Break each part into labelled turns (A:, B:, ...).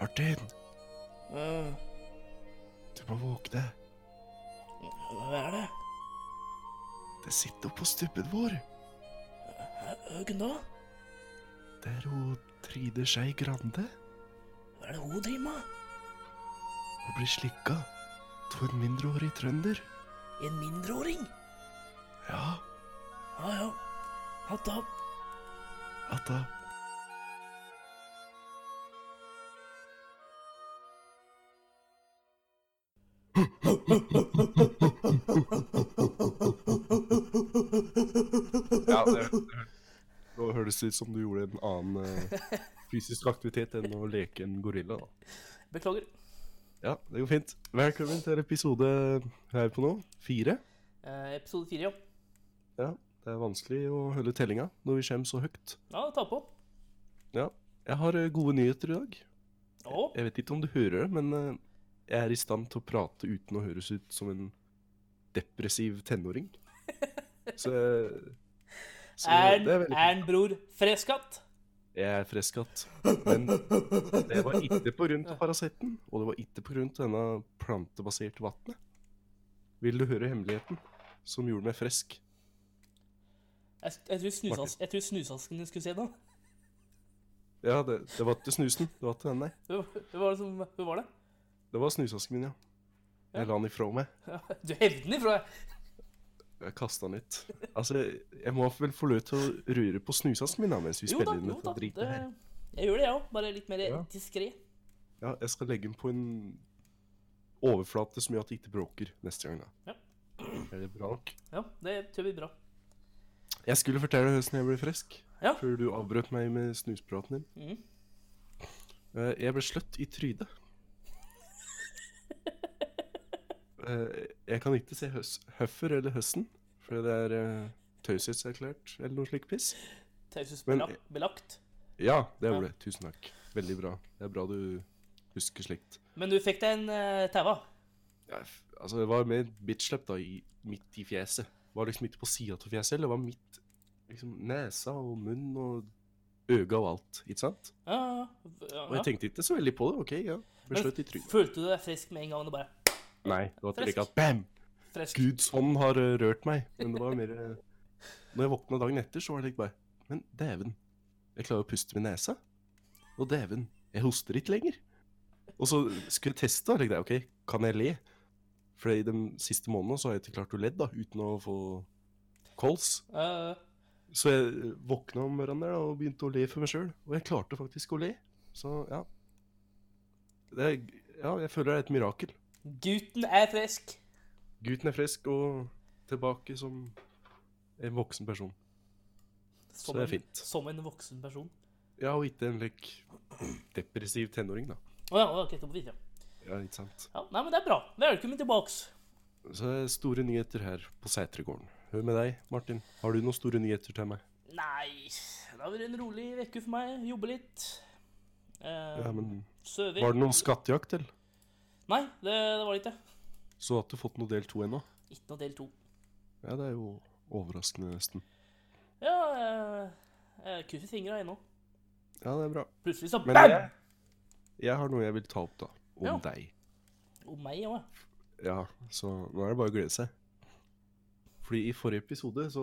A: Martin,
B: Mm,
A: du må våkne.
B: Hva er det?
A: Det sitter noe på stubben vår.
B: Høgn da?
A: Det er hun Trine Skei Grande.
B: Hva er det hun driver med?
A: Hun blir slikka av en mindreårig trønder.
B: En mindreåring?
A: Ja,
B: Ja, ja. Hatt av.
A: at da
C: Ja, det,
A: Nå høres det ut som du gjorde en annen eh, fysisk aktivitet enn å leke en gorilla. da.
B: Beklager.
A: Ja, det går fint. Velkommen til episode her på nå, fire.
B: Eh, episode fire, ja.
A: Ja, det er vanskelig å holde tellinga når vi kommer så høyt.
B: Ja, ta på.
A: Ja, jeg har eh, gode nyheter i dag.
B: Å,
A: Jeg vet ikke om du hører det, men eh, jeg er i stand til å prate uten å høres ut som en depressiv tenåring. Så, eh, så
B: Ern,
A: det er veldig
B: Ern, bror, freskatt.
A: Jeg er freskatt. Men det var ikke pga. Parasitten, og det var ikke pga. denne plantebaserte vannet. Vil du høre hemmeligheten som gjorde meg frisk?
B: Jeg, jeg tror snusas- jeg tror snusasken din skulle se det.
A: Ja, det, det var ikke snusen. Det var ikke den, nei.
B: Hva var det som, hva var det?
A: Det var snusasken min, ja. Jeg la den ifra meg.
B: Ja, Du hevde den ifra deg.
A: Jeg kasta den ut. Altså, jeg må vel få lov til å røre på snusasken min da, mens vi
B: Jo da,
A: spiller inn
B: jo da.
A: dette
B: Det,
A: dritet her.
B: jeg gjør det, jeg ja. òg. Bare litt mer
A: Ja.
B: diskré.
A: Ja, jeg skal legge den på en overflate som gjør at det ikke bråker neste gang, da. Er det bra nok?
B: Ja, det tror jeg blir bra.
A: Jeg skulle fortelle deg hvordan jeg ble frisk.
B: Ja.
A: Før du avbrøt meg med snuspraten din.
B: Mhm.
A: Eh, jeg ble sløtt i trynet. Eh, jeg kan ikke se høs høffer eller høsten, for det er uh, taushetserklært eller noe slikt piss. Men-
B: Taushetsbelagt.
A: Ja, det gjorde det. Tusen takk. Veldig bra. Det er bra du husker slikt.
B: Men du fikk deg en uh, taua.
A: Ja, f- altså, det var mer bitch-slap da, i, midt i fjeset. Det var liksom ikke på sida av fjeset, det var midt liksom, nesa og munn og øga og alt, ikke sant?
B: Ja, ja, ja.
A: Og jeg tenkte ikke så veldig på det. OK, ja. Ble sløtt i trynet.
B: Følte du deg frisk med en gang? og bare
A: Nei, det var ikke
B: Frisk.
A: like at bam!
B: Frisk.
A: Guds hånd har eh, rørt meg. Men det var mer eh, Når jeg våkna dagen etter, så var det like bare Men dæven, jeg klarer å puste med nesa. Og dæven, jeg hoster ikke lenger. Og så skulle jeg teste, da. Like, det, OK, kan jeg le? For i de siste månedene så har jeg ikke klart å le da, uten å få kols.
B: Ja,
A: Så jeg våkna om morgenen der da, og begynte å le for meg sjøl. Og jeg klarte faktisk å le. Så ja. Det er, ja, jeg føler det er et mirakel.
B: gutten er frisk.
A: Gutten er frisk og tilbake som en voksen person. Så
B: Som
A: det er
B: en-
A: fint.
B: Som en voksen person.
A: Ja, og ikke en like depressiv tenåring, da.
B: Å ja, ok, så på videre.
A: Ja, ikke sant.
B: Ja, nei, men det er bra. Velkommen tilbake.
A: Så det er store nyheter her på Sætregården. Hør med deg, Martin. Har du noen store nyheter til meg?
B: Nei, det har vært en rolig uke for meg. Jobbe litt. Eh,
A: Ja, men
B: Søve.
A: Var det noen skattejakt til?
B: Nei, det, det var det ikke.
A: Så at du fått noe del to ennå?
B: Ikke noe del to.
A: Ja, det er jo overraskende, nesten.
B: Ja, eh, jeg krysser fingra ennå.
A: Ja, det er bra.
B: Plutselig så
A: Men
B: bam!
A: jeg, jeg har noe jeg vil ta opp, da. Om
B: Ja.
A: deg.
B: Og meg òg, ja.
A: Ja, så nå er det bare å glede seg. Fordi i forrige episode så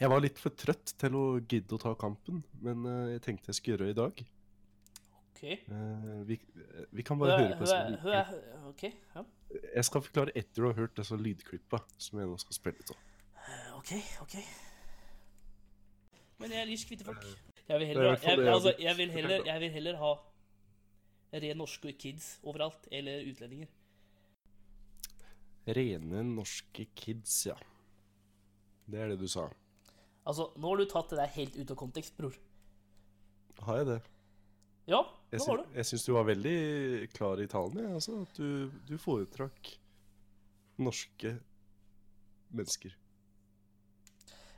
A: Jeg var litt for trøtt til å gidde å ta kampen, men eh, jeg tenkte jeg skulle gjøre det i dag.
B: OK.
A: Eh, vi, eh, vi kan
B: Hø,
A: bare høre på
B: hø,
A: disse
B: hø,
A: lydklippene.
B: OK. Ja.
A: Jeg skal forklare etter du har hørt disse lydklippa som jeg nå skal spille av.
B: Eh, OK, OK. Men jeg liker hvite folk. Jeg
A: Eh, det er i
B: vil heller,
A: hvert fall
B: jeg,
A: det jeg
B: altså,
A: vil-
B: jeg vil heller, jeg vil heller ha ren norske kids overalt, eller utlendinger.
A: Rene norske kids, ja. Det er det du sa.
B: Altså, nå har du tatt det der helt ut av kontekst, bror.
A: Har jeg det?
B: Ja,
A: Jeg,
B: nå
A: sy
B: har du.
A: jeg syns du var veldig klar i talen, jeg. Altså, at du, du foretrakk norske mennesker.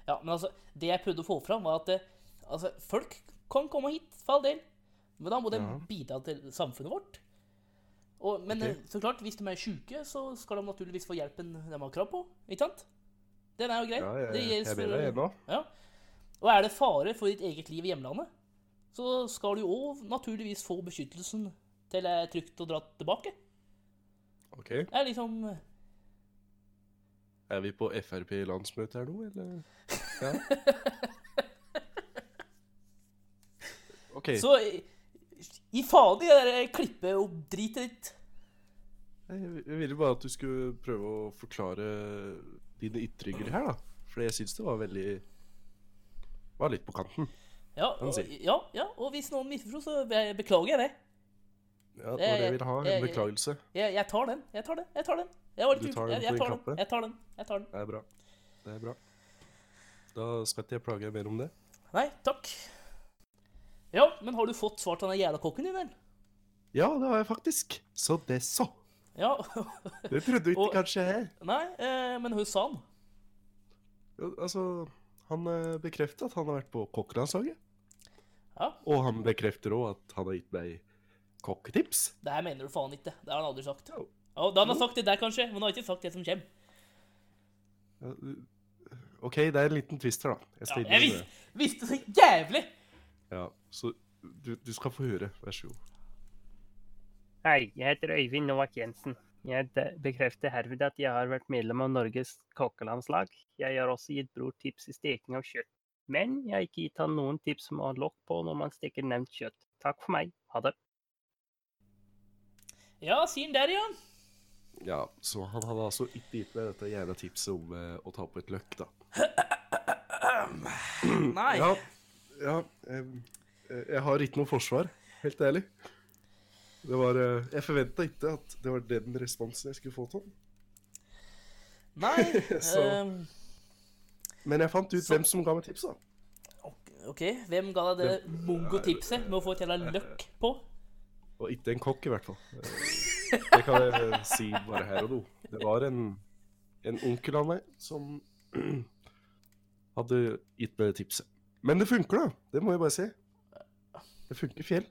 B: Ja, men altså, det jeg prøvde å få fram, var at eh, altså, folk kan komme hit, for all del, men da må de
A: Ja.
B: bidra til samfunnet vårt. Og, men
A: Ok.
B: eh, så klart, hvis de er syke, så skal de naturligvis få hjelpen de har krav på, ikke sant? Den er jo grei.
A: Ja, jeg,
B: Det
A: jeg,
B: gjelder
A: jeg
B: for-
A: ber deg nå.
B: Ja. Og er det fare for ditt eget liv i hjemlandet, så skal du jo òg naturligvis få beskyttelsen til det er trygt å dra tilbake.
A: Ok.
B: Det er liksom
A: Er vi på Frp-landsmøte her nå, eller? Ja. OK.
B: Så i- i faen i det der klippet og dritet ditt.
A: Jeg jeg ville bare at du skulle prøve å forklare dine ytringer her, da. For jeg syns det var veldig Var litt på kanten.
B: Ja,
A: Kan
B: og,
A: si.
B: ja, ja, og hvis noen misforsto, så be- beklager jeg det.
A: Ja, det var det jeg ville ha.
B: Jeg-
A: En
B: jeg-
A: beklagelse.
B: Jeg, jeg tar den. Jeg tar den. Jeg tar den. Jeg var litt
A: Du tar
B: ufor-
A: den på
B: jeg, jeg
A: din
B: tar
A: kappe?
B: den. Jeg tar den. Jeg tar den.
A: Det er bra. Det er bra. Da skal ikke jeg plage deg mer om det.
B: Nei, takk. Ja, men har du fått svar til den jævla kokken din, eller?
A: Ja, det har jeg faktisk. Så det så.
B: Ja.
A: Det trodde du ikke
B: Og-
A: kanskje jeg.
B: Nei, eh, men hun sa den.
A: Ja, Altså, han eh, bekrefter at han har vært på kokkelandslaget.
B: Ja.
A: Og han bekrefter òg at han har gitt meg kokketips.
B: Det her mener du faen ikke. Det har han aldri sagt.
A: Jo.
B: Ja, da han har sagt det der, kanskje, men han har ikke sagt det som kommer.
A: Ja, du- OK, det er en liten twist her, da.
B: Ja,
A: skal
B: jeg
A: innrømme det.
B: visste, visste så jævlig!
A: Ja, så du, du skal få høre. Vær så god.
C: Hei, jeg heter Øyvind Novak Jensen. Jeg de- bekrefter herved at jeg har vært medlem av Norges kokkelandslag. Jeg har også gitt bror tips i steking av kjøtt. Men jeg har ikke gitt han noen tips om å ha lokk på når man steker nevnt kjøtt. Takk for meg. Ha det.
B: Ja, sier han der, ja.
A: Ja, så han hadde altså ikke gitt meg dette jævla tipset om eh, å ta på et løkk, da.
B: Nei.
A: Ja, ja em, eh, jeg har ikke noe forsvar, helt ærlig. Det var eh, Jeg forventa ikke at det var den responsen jeg skulle få til han.
B: Nei.
A: Så-
B: ehm,
A: Men jeg fant ut
B: Så-
A: hvem som ga meg tipset. da.
B: OK, hvem ga deg det mongo-tipset med å få et jævla løkk på?
A: Og ikke en kokk, i hvert fall. Eh, Det kan jeg eh, si bare her og nå. Det var en, en onkel av meg som hadde gitt meg det tipset. Men det funker, da. Det må jeg bare si. Det funker fjell.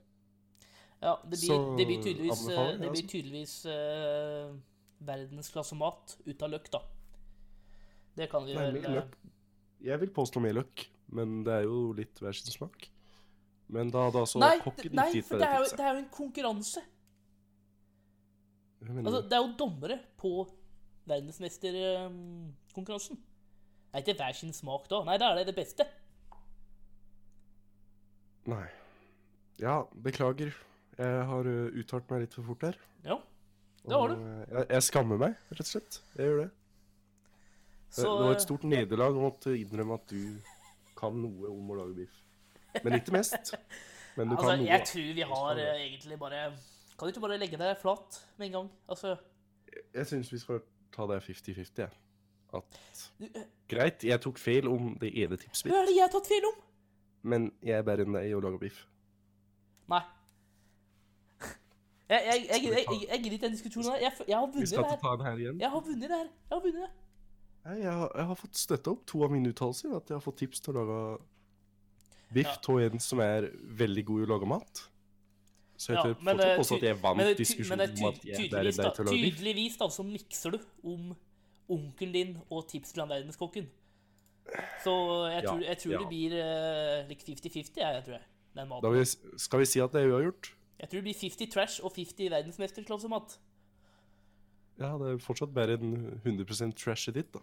B: Ja, det blir,
A: Så
B: det blir tydeligvis, eh,
A: anbefaler jeg,
B: det blir
A: altså.
B: tydeligvis eh, verdensklassemat ut av løk, da. Det kan vi
A: Nei,
B: vel
A: mer
B: eh,
A: løk. Jeg vil påstå mer løk, men det er jo litt hver sin smak. Men da hadde altså
B: Nei,
A: kokken
B: nei
A: ikke gitt
B: for
A: meg
B: det
A: det
B: er, jo,
A: tipset.
B: det er jo en konkurranse.
A: Hva mener
B: Altså,
A: du?
B: det er jo dommere på verdensmesterkonkurransen. Er ikke hver sin smak da? Nei, da er det det beste.
A: Nei. Ja, beklager. Jeg har ø, uttalt meg litt for fort her.
B: Ja. Det har du.
A: og, ø, Jeg, jeg skammer meg, rett og slett. Jeg gjør det. Det-
B: Så
A: det var
B: eh,
A: et stort nederlag å måtte innrømme at du kan noe om å lage biff. Men ikke mest. Men du
B: altså,
A: kan noe.
B: jeg
A: da.
B: tror vi har eh, egentlig bare Kan du ikke bare legge deg flat med en gang? Altså
A: Jeg syns vi skal ta det 50-50, jeg. At
B: du, eh,
A: greit, jeg tok feil om det ene tipset mitt,
B: Hva er det jeg har tatt feil om?
A: men jeg er bedre enn deg i å lage biff.
B: Nei. Jeg, jeg, jeg, jeg, jeg, jeg gidder ikke den diskusjonen her. Jeg, f- jeg har
A: Vi
B: vunnet
A: skal
B: det
A: ikke
B: her.
A: ta den her igjen.
B: Jeg har vunnet det her. Jeg har vunnet det.
A: Nei, jeg, har, jeg har fått støtta opp to av mine uttalelser. At jeg har fått tips til å lage biff
B: Ja.
A: av en som er veldig god i å lage mat. Så jeg
B: Ja,
A: tør
B: men,
A: fortsatt
B: eh,
A: påstå at jeg
B: Men
A: vant
B: det, er ty- men
A: diskusjonen
B: det er
A: om at
B: ty-
A: jeg er bedre
B: tydeligvis,
A: enn
B: da,
A: deg til å lage biff.
B: tydeligvis da, så mikser du om onkelen din og tips fra verdenskokken. Så jeg
A: Ja,
B: tror, jeg tror
A: ja.
B: det blir eh, like 50-50, jeg, jeg tror jeg. Den
A: Da
B: maten.
A: vil, jeg s- skal vi si at det er uavgjort?
B: Jeg tror det blir 50 trash og 50 verdensmesterklassemat.
A: Ja, det er fortsatt bedre enn 100 trashet ditt, da.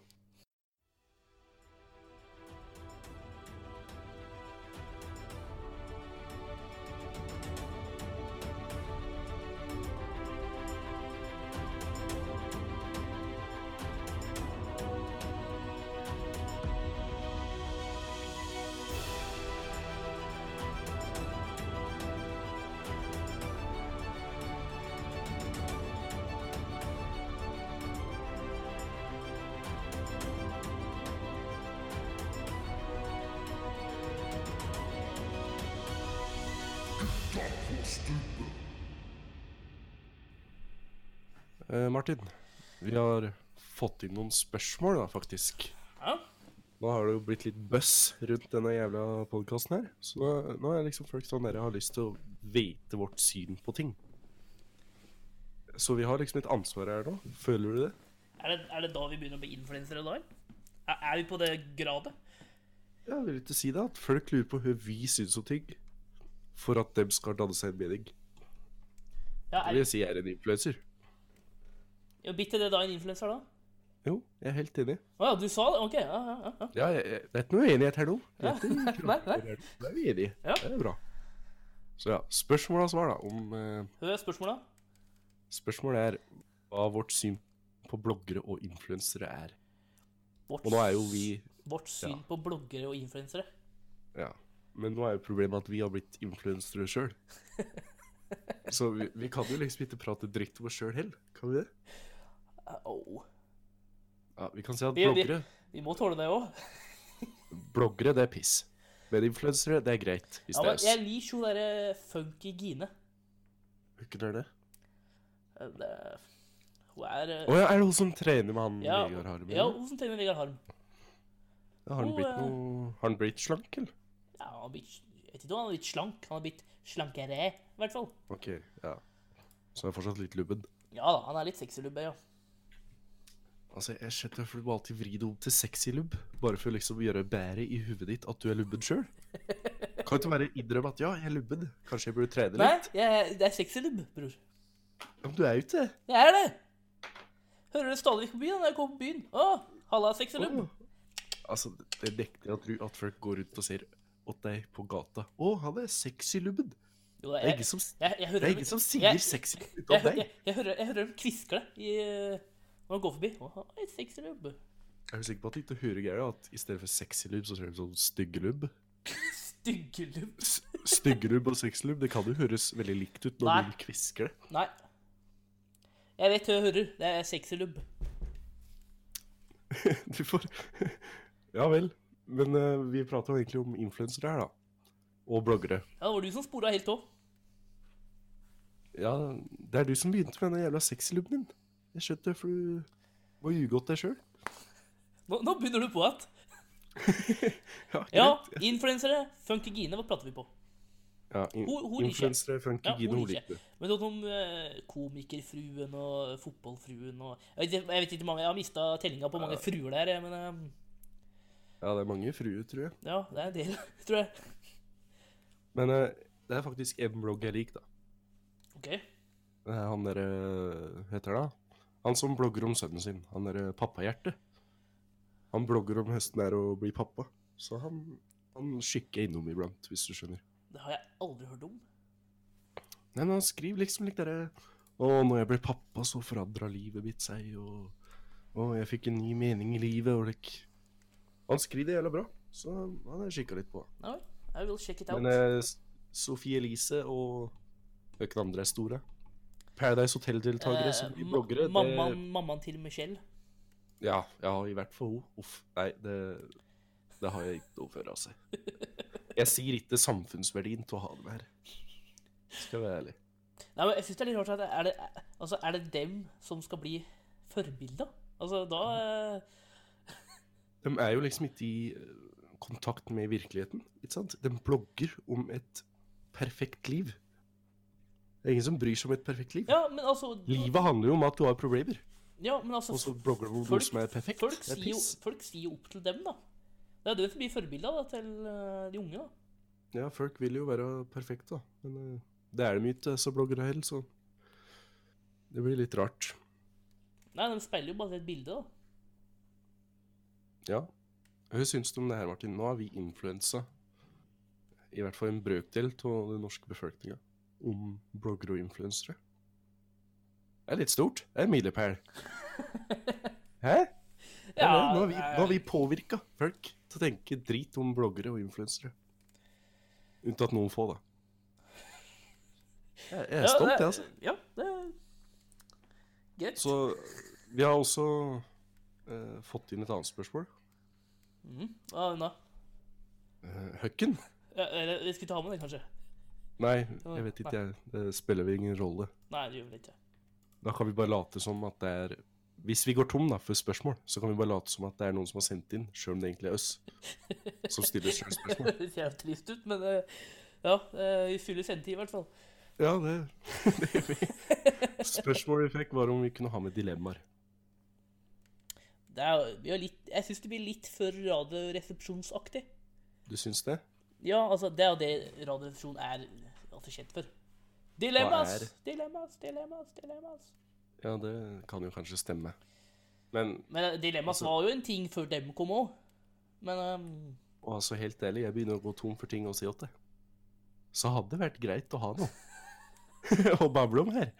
A: Eh, Martin, vi har fått inn noen spørsmål, da, faktisk.
B: Ja.
A: Nå har det jo blitt litt buzz rundt denne jævla podkasten her. Så nå, nå er liksom folk sånn dere har lyst til å vite vårt syn på ting. Så vi har liksom et ansvar her nå. Føler du det?
B: Er det, er det da vi begynner å bli influensere da? eller? Er, er vi på det gradet?
A: Ja, vil ikke si det. At folk lurer på hva vi syns om ting. for at dem skal danne seg en mening.
B: Ja,
A: Det vil
B: er,
A: jeg si er en influenser.
B: ja, Bitte det da en influenser, da?
A: Jo, jeg er helt enig.
B: Å ja, du sa det? OK. Ja, ja, ja, ja.
A: Ja, jeg, jeg, det er ikke noe uenighet her nå.
B: Ja.
A: Dette er ikke
B: Nei, nei.
A: krangel. Det er vi enige i.
B: Ja.
A: Det er bra. Så ja, spørsmål og svar, da. Om, eh,
B: Hør spørsmålet.
A: spørsmålet er hva vårt syn på bloggere og influensere er.
B: Vårt,
A: Og nå er jo vi
B: vårt syn
A: ja.
B: på bloggere og influensere.
A: Ja. Men nå er jo problemet at vi har blitt influensere sjøl. Så vi, vi kan jo liksom ikke prate dritt om oss sjøl heller, kan vi det?
B: Au.
A: Ja, Vi kan si at
B: Vi- vi-
A: bloggere
B: Vi må tåle det òg.
A: Bloggere, det er piss. Men influensere, det er greit. Hvis
B: Ja,
A: det
B: men
A: er
B: jeg liker jo derre funky Gine.
A: oss. Ikke det er det?
B: Eh, Det, hun er eh,
A: Å ja, er det hun som trener med han
B: Ja,
A: Vegard Harm?
B: ja,
A: eller?
B: hun som trener Vegard Harm.
A: Ja, har han
B: hun,
A: blitt
B: eh,
A: noe Har han blitt slank, eller?
B: Ja, han har blitt, jeg vet ikke om han har blitt slank, han har blitt slankere, i hvert fall.
A: OK, ja. Så han er fortsatt litt lubben.
B: Ja da, han er litt sexy lubbe, ja.
A: Altså, jeg skjønner hvorfor du alltid vrir det om til sexy lubb, bare for å liksom gjøre bedre i huet ditt at du er lubben sjøl. Kan ikke bare innrømme at ja, jeg er lubben. Kanskje jeg burde trene
B: Nei,
A: litt?
B: jeg, det er sexy lubbe, bror.
A: Ja, Men du er jo ikke det.
B: Det er det! Hører du stadig på byen når jeg kommer på byen? Å, halla, sexy lubbe.
A: Åh. Altså, det nekter jeg å tro at folk går rundt og ser åt deg på gata. Å, han er sexy lubben.
B: Jo, da,
A: Det er
B: jeg,
A: ingen som,
B: jeg, jeg hører
A: det er
B: dem-
A: ingen som
B: jeg-
A: sier sexy
B: jeg,
A: utenom
B: hø-
A: deg.
B: jeg, jeg, hører, jeg hører dem kviskle i, eh, når de går forbi. Å, han er sexy lubbe.
A: Er du sikker på at de ikke hører greia? At i stedet for sexy lubb, så ser de sånn stygge lubb?
B: Stygge lubbe.
A: S- Stygge lubb og sexy lubb, det kan jo høres veldig likt ut når
B: Nei.
A: noen kvisker det.
B: Nei. Jeg vet hva jeg hører. Det er sexy lubbe.
A: Du får Ja vel. Men eh, vi prater jo egentlig om influensere her, da. Og bloggere.
B: Ja, det var du som spora helt òg.
A: Ja, det er du som begynte med den jævla sexy lubben din. Jeg skjønte det, for du må ljuge åt deg sjøl.
B: Nå, nå begynner du på igjen.
A: Ja,
B: Ja,
A: greit.
B: influensere. Funky Gine, hva prater vi på?
A: Ja, in
B: Hun- hun liker.
A: influensere, funky
B: Ja,
A: ja, Gino
B: hun liker.
A: liker.
B: Men sånn om eh, komikerfruen og fotballfruen og Jeg vet, jeg vet ikke hvor mange Jeg har mista tellinga på hvor mange fruer der, jeg, men eh,
A: Ja, det er mange fruer, tror jeg.
B: ja, det er en del, tror jeg.
A: Men eh, det er faktisk en blogg jeg liker, da.
B: OK.
A: Det er Eh, han derre heter det? da? Han som blogger om sønnen sin. Han derre pappahjerte. Han blogger om høsten er å bli pappa. Så han, han skykker jeg innom iblant, hvis du skjønner.
B: Det har jeg aldri hørt om.
A: Nei, men han skriver liksom litt derre Å, når jeg ble pappa, så forandra livet mitt seg, og Å, jeg fikk en ny mening i livet, og lik Han skriver det jævla bra, så han har jeg kikka litt på.
B: Nei, I will check it out.
A: Men eh, S- Sophie Elise og hvem andre er store? Paradise
B: Eh,
A: Hotel-deltakere som blir bloggere. det-
B: mammaen, mammaen til Michelle.
A: Ja, ja, i hvert fall hun. Uff. Nei, det, det har jeg ikke noe for, altså. Jeg sier ikke samfunnsverdien til å ha dem her. Skal jeg være ærlig.
B: Nei, men jeg synes det er litt rart at det- er det, altså, er det dem som skal bli forbilda? Altså, da eh,
A: De er jo liksom ikke i eh, kontakt med virkeligheten, ikke sant? De blogger om et perfekt liv. Det er ingen som bryr seg om et perfekt liv.
B: Ja, men altså
A: Livet handler jo om at du har problemer,
B: Ja, men altså
A: og så blogger du om noe som er perfekt.
B: Folk
A: Det er
B: sier, jo,
A: piss.
B: folk sier jo opp til dem, da. Det er det som blir forbilda da, til eh, de unge. da.
A: Ja, folk vil jo være perfekte, da. Men eh, det er de jo ikke, så bloggere heller, så det blir litt rart.
B: Nei, de speiler jo bare et bilde, da.
A: Ja. Hva syns du om det her, Martin? Nå er vi influensa. I hvert fall en brøkdel av den norske befolkninga. Om bloggere og influensere. Det er litt stort. Det er en milepæl. Hæ? Ja,
B: Ja,
A: nå har vi,
B: eh,
A: nå har vi påvirka folk til å tenke drit om bloggere og influensere. Unntatt noen få, da. Jeg, jeg er stolt, jeg, altså.
B: Ja, det er greit.
A: Så vi har også eh, fått inn et annet spørsmål.
B: Mhm. Ja, unna.
A: Eh, Høkken?
B: Ja, eller, vi skulle ta med det, kanskje.
A: Nei, jeg vet ikke. Jeg, det spiller vel ingen rolle.
B: Nei, det gjør vi ikke.
A: Da kan vi bare late som at det er Hvis vi går tom da, for spørsmål, så kan vi bare late som at det er noen som har sendt inn, sjøl om det egentlig er oss som stiller selv spørsmål.
B: Det ser jo trist ut, men eh, ja, eh, vi fyller sendetid, i hvert fall.
A: Ja, det, det gjør vi. Spørsmålet vi fikk, var om vi kunne ha med dilemmaer.
B: Det er, jo- vi har litt, jeg syns det blir litt for radioresepsjonsaktig.
A: Du syns det?
B: Ja, altså, det er jo det Radioresepsjonen er altså, kjent for. Dilemmas!
A: Hva er-
B: Dilemmas, dilemmas, dilemmas.
A: Ja, det kan jo kanskje stemme. Men
B: Men eh, dilemmas
A: Altså-
B: var jo en ting før dem kom òg. Men ehm,
A: og altså, helt ærlig, jeg begynner å gå tom for ting å si åt deg. Så hadde det vært greit å ha noe å bable om her.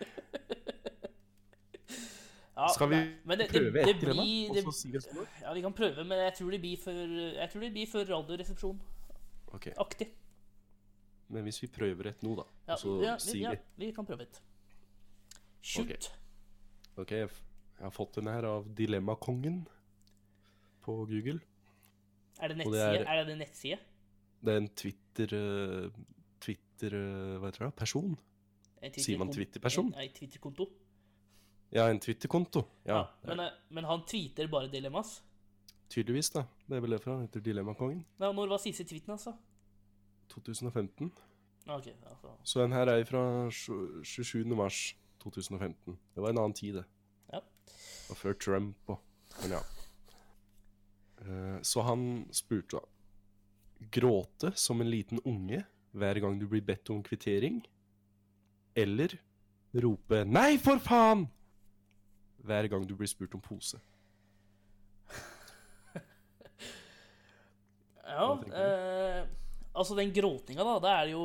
B: ja,
A: Skal vi
B: nei, men det, det,
A: prøve
B: det
A: et dilemma,
B: blir,
A: og
B: det,
A: så si oss noe?
B: Ja, vi kan prøve, men jeg tror det blir for, jeg tror det blir for Radioresepsjon-aktig.
A: Ok, Men hvis vi prøver et nå, da,
B: Ja,
A: og så
B: ja, vi,
A: sier
B: ja,
A: vi
B: vi kan prøve et. Shoot.
A: Ok, jeg f- jeg har fått den her av Dilemmakongen på Google.
B: Er det
A: Og det
B: nettside?
A: er-
B: er... det en nettside?
A: Det er en Twitter eh, Twitter eh, Hva heter det? Person?
B: En
A: Sier man
B: Twitter-kon-
A: Twitter-person?
B: en- Nei, Twitter-konto.
A: Ja, en Twitter-konto. Ja,
B: Ja, men, eh, men han tweeter bare dilemmas.
A: tydeligvis, da. Det er vel derfor han heter Dilemmakongen.
B: Nei, når var siste tweeten, altså?
A: 2015.
B: Ja, Ok, altså.
A: Så den her er fra sju- 27. mars 2015. Det var en annen tid, det.
B: Ja.
A: Og før Trump og Men ja. Eh, Så han spurte da Gråte som en liten unge hver gang du blir bedt om kvittering? Eller rope 'nei, for faen!' hver gang du blir spurt om pose?
B: Ja,
A: Hva tenker
B: eh, altså den gråtinga, da, det er jo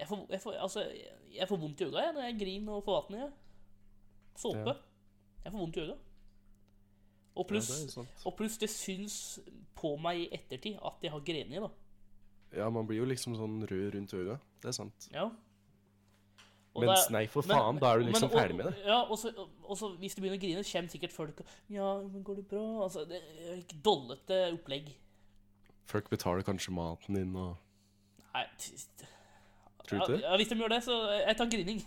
B: Jeg får, jeg får, altså, jeg får vondt i øynene jeg, når jeg griner og får vann i øynene. Såpe.
A: Ja.
B: Jeg får vondt i øynene. Og
A: Ja,
B: pluss
A: det er sant.
B: og pluss det syns på meg i ettertid at jeg har grenet, da.
A: ja, man blir jo liksom sånn rød rundt øya. Det er sant.
B: Ja. Og
A: Mens
B: det er-
A: nei, for
B: men-
A: faen, da er du
B: men-
A: liksom
B: og-
A: ferdig med det.
B: Ja, og så, og så hvis du begynner å grine, kommer sikkert folk og Ja, men går det bra? Altså, det er ikke dollete opplegg.
A: Folk betaler kanskje maten din og
B: Nei, t-
A: Tror du
B: ja,
A: ikke det?
B: ja, hvis de gjør det, så jeg tar grining.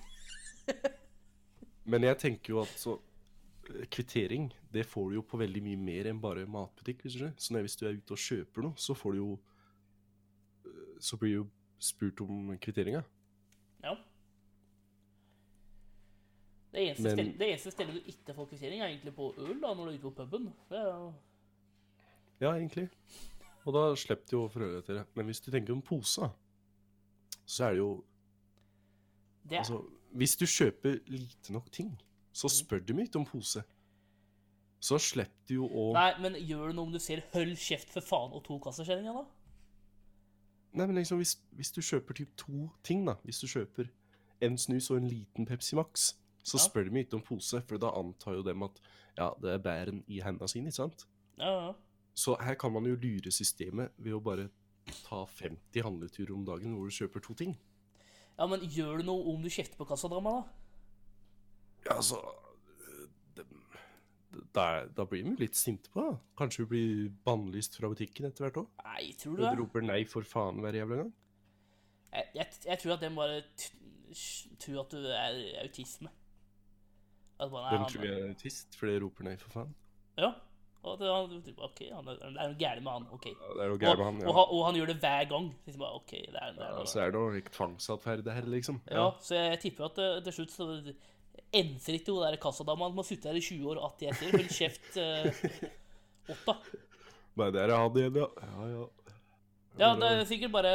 A: Men jeg tenker jo at så eh, Kvittering, det får du jo på veldig mye mer enn bare matbutikk. hvis du skjønner. Så når- hvis du er ute og kjøper noe, så får du jo eh, Så blir du jo spurt om kvitteringa.
B: Ja. Det eneste,
A: Men-
B: stedet, det eneste stedet du ikke får kvittering, er egentlig på øl, da, når du er ute på puben. Det er jo
A: Ja, egentlig. Og da slipper du jo å forholde deg til det. Men hvis du tenker om posa, så er det jo
B: det er,
A: Altså, hvis du kjøper lite nok ting, så spør du meg ikke om pose. Så slipper du jo å
B: Nei, men gjør det noe om du ser 'hold kjeft, for faen' og to kasser kjenninga, da?
A: Nei, men liksom, hvis, hvis du kjøper typ to ting, da Hvis du kjøper en snus og en liten Pepsi Max, så
B: Ja.
A: spør de meg ikke om pose, for da antar jo dem at ja, det er bæren i hendene sine, ikke sant?
B: Ja, ja.
A: Så her kan man jo lure systemet ved å bare ta 50 handleturer om dagen hvor du kjøper to ting.
B: ja, men gjør det noe om du kjefter på kassadama, da?
A: Ja, altså det, da, da blir vi jo litt sinte på det. da. Kanskje vi blir bannlyst fra butikken etter hvert òg?
B: Nei, tror du
A: Du
B: det?
A: roper nei for faen hver jævla gang?
B: Jeg, jeg, jeg tror at den bare t- tror at du er autisme. At bare, nei,
A: Hvem
B: han-
A: tror jeg er autist, for det roper nei for faen?
B: Ja. Og at han, OK, han er, det er noe gærent med han. OK.
A: Ja, det er noe gærent med han.
B: og, og, han, og han gjør det hver gang. Liksom bare, ok, det er, det er
A: Ja,
B: noe.
A: så er det jo ikke tvangsatferd, det her, liksom.
B: ja. så jeg tipper at eh, til slutt så enser ikke hun der kassadama som har sittet her i 20 år, at jeg sier hold kjeft, eh, Otta.
A: Nei, det er jeg hadde igjen, ja. Ja, ja.
B: Ja, det er sikkert bare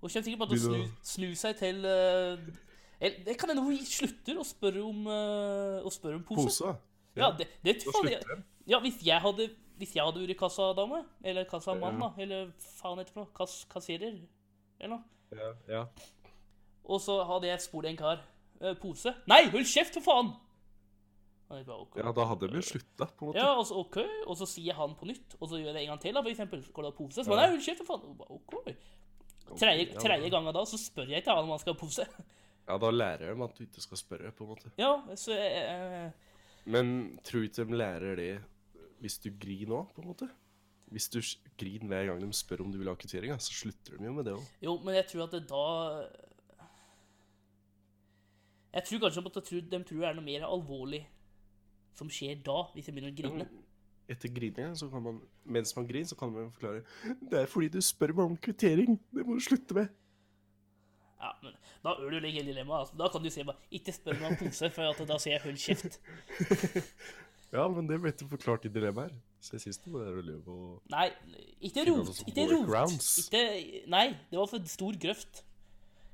B: Hun kommer sikkert bare til å snu,
A: Begynner
B: snu seg til eh, eller, Det kan hende hun slutter å spørre om, eh, å spørre om pose.
A: Posa.
B: Ja, det, det
A: Da
B: tror jeg
A: slutter de.
B: Ja, hvis jeg hadde Hvis jeg hadde vært kassadame, eller kassamann, da, eller faen heter det for noe, kass, kasserer, eller noe
A: Ja, ja.
B: Og så hadde jeg spurt en kar. eh, Pose. Nei, hold kjeft, for faen! Og jeg bare, ok.
A: ja, da hadde vi jo slutta, på en måte.
B: Ja, og så OK, og så sier han på nytt, og så gjør jeg det en gang til, da, for eksempel. Så går det pose. Så bare, nei, hold kjeft, for faen. Og jeg bare, OK. Tredje,
A: ja.
B: tredje gangen da, så spør jeg ikke han om han skal ha pose.
A: Ja, da lærer de at du ikke skal spørre, på en måte.
B: Ja, så eh,
A: Men tror du ikke de lærer det hvis du griner nå, på en måte? Hvis du s- griner hver gang de spør om du vil ha kvittering, ja, så slutter de jo med det òg.
B: Jo, men jeg tror at det da Jeg tror kanskje at de tror, de tror det er noe mer alvorlig som skjer da, hvis jeg begynner å grine.
A: Mm. Etter grininga, så kan man, mens man griner, så kan man forklare Det er fordi du spør meg om kvittering. Det må du slutte med.
B: Ja, men Da ødelegger jeg dilemmaet. Altså. Da kan du si bare 'ikke spør meg om pose', for at da sier jeg 'hold kjeft'.
A: Ja, men det ble ikke forklart i dilemmaet her. Så jeg syns det er lov å
B: Nei, ikke
A: Finner
B: rot.
A: noen
B: Ikke rot.
A: workarounds.
B: Ikke Nei, det var for stor grøft.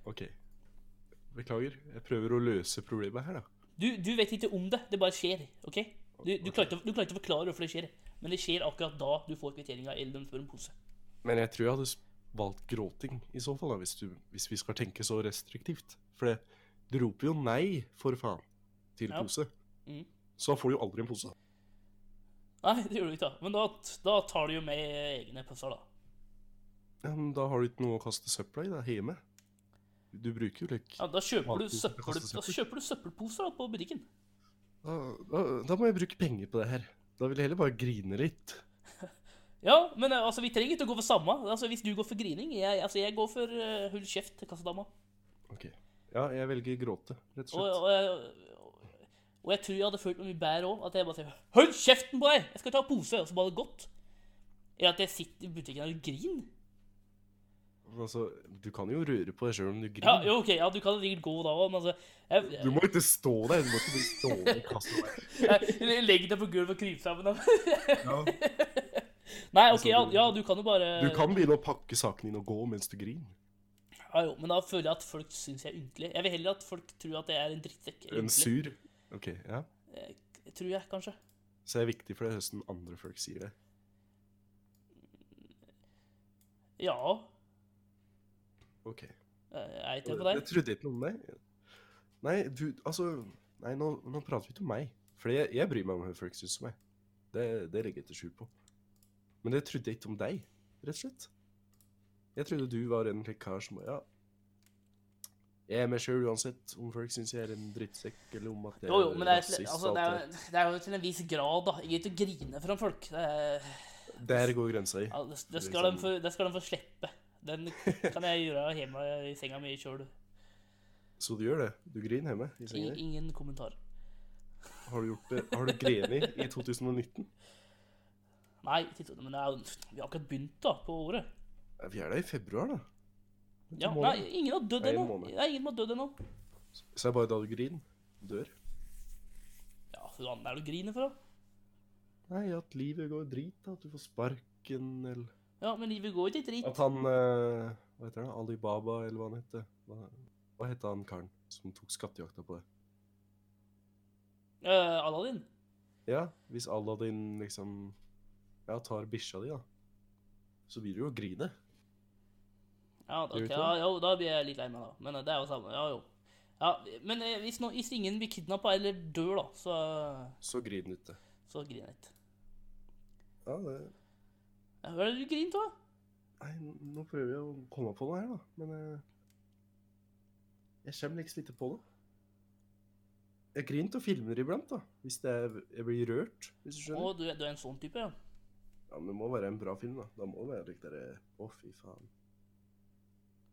A: OK. Beklager. Jeg prøver å løse problemet her, da.
B: Du, du vet ikke om det. Det bare skjer. OK? Du, du, klarer ikke, å- du klarer ikke å forklare hvorfor det skjer, men det skjer akkurat da du får kvitteringa eller de spør om pose.
A: Men jeg tror jeg hadde s- valgt gråting i så fall, da, hvis, du, hvis vi skal tenke så restriktivt. For det, du roper jo nei, for faen, til
B: Ja.
A: pose.
B: Mhm.
A: Så da får du jo aldri en pose.
B: Nei, det gjør du ikke, da. Men da, da tar du jo med egne pøsser, da.
A: Ja, men da har du ikke noe å kaste søpla i, da, hjemme. Du bruker jo lekk.
B: Ja, da kjøper du,
A: Alltid
B: søppel,
A: kaste søppel.
B: da kjøper du søppelposer da, på butikken.
A: Da, da, da må jeg bruke penger på det her. Da vil jeg heller bare grine litt.
B: Ja, men eh, altså, vi trenger ikke å gå for samme. Altså, hvis du går for grining jeg, altså, jeg går for uh, hull kjeft til kassadama.
A: Ok. Ja, jeg velger gråte, rett og
B: Og,
A: slett.
B: og, jeg- og jeg tror jeg hadde følt meg mye bedre òg. At jeg bare sier 'Hold kjeften på deg! Jeg skal ta pose!' Og så bare gått. Eller at jeg sitter i butikken og griner.
A: Altså, du kan jo røre på deg sjøl om du griner.
B: Ja, jo, ok, ja, du kan sikkert gå da òg, men altså jeg,
A: Du må ikke stå der. Du må ikke bli stående i kassa.
B: jeg, jeg legger deg på gulvet og kryper sammen. da.
A: Ja.
B: Nei, ok, ja, ja, du kan jo bare
A: Altså, Du kan begynne å pakke sakene dine og gå mens du griner.
B: Ja, jo, Men da føler jeg at folk syns jeg er ynkelig. Jeg vil heller at folk tror at jeg er en drittsekk. eller
A: En
B: ynkelig.
A: sur. Ok, ja.
B: Eh, Tror jeg, kanskje.
A: Så det er viktig for deg hvordan andre folk sier det.
B: Ja.
A: Ok.
B: Jeg er ikke på
A: Jeg
B: deg.
A: trodde ikke noe om deg. Nei, du, altså Nei, nå, nå prater vi ikke om meg. For jeg, jeg bryr meg om hva folk syns om meg. Det, det legger jeg ikke skjul på. Men jeg trodde ikke om deg, rett og slett. Jeg trodde du var en slik kar som Ja. Jeg er meg sjøl uansett om folk syns jeg er en drittsekk, eller om at jeg
B: Jo, jo, men det er,
A: rasist,
B: altså,
A: og
B: det,
A: alt
B: er, det er jo til en viss grad, da. Jeg gidder ikke å grine foran folk. Det er
A: det. Der går grensa i.
B: Ja, det, det,
A: er
B: skal de
A: sånn-
B: få, det skal de få slippe. Den kan jeg gjøre hjemme i senga mi sjøl.
A: Så du gjør det? Du griner hjemme i senga? di.
B: Ingen kommentar.
A: Har du gjort det? Har du grenet i 2019?
B: Nei, ikke sånn, men det er, jo- vi har akkurat begynt da, på året.
A: Ja, Vi er da i februar, da.
B: Ja,
A: måned.
B: nei, ingen har dødd
A: Nei, en
B: ennå.
A: måned.
B: Nei, ingen har dødd ennå.
A: Så er det bare da du griner. Dør.
B: Ja, hva annet er det du griner for, da?
A: Nei, at livet går drit, da. At du får sparken, eller
B: Ja, men livet går ikke i drit.
A: At han eh, Hva heter han? Alibaba, eller hva han heter. Hva, hva heter han karen som tok skattejakta på det?
B: Uh, Aladdin.
A: Ja, hvis Aladdin liksom Ja, tar bikkja di, da. Så blir du jo å grine.
B: Ja, da,
A: Gjør vi
B: ok,
A: ikke
B: ja, jo, da blir jeg litt lei meg, da. Men eh, det er jo samme. Ja, jo. Ja, men eh, hvis, nå- hvis ingen blir kidnappa eller dør, da, så,
A: Så griner du ikke.
B: så griner jeg ikke.
A: Ja, det
B: Ja, Hva er det du griner av?
A: Nei, nå prøver jeg å komme på noe her, da. Men eh, jeg kommer liksom ikke på det. Jeg griner og filmer iblant, da. Hvis det er, jeg blir rørt, hvis du skjønner.
B: Å, du, er- du er en sånn type, ja?
A: Ja, men det må være en bra film, da. Da må det være litt derre Å, fy faen.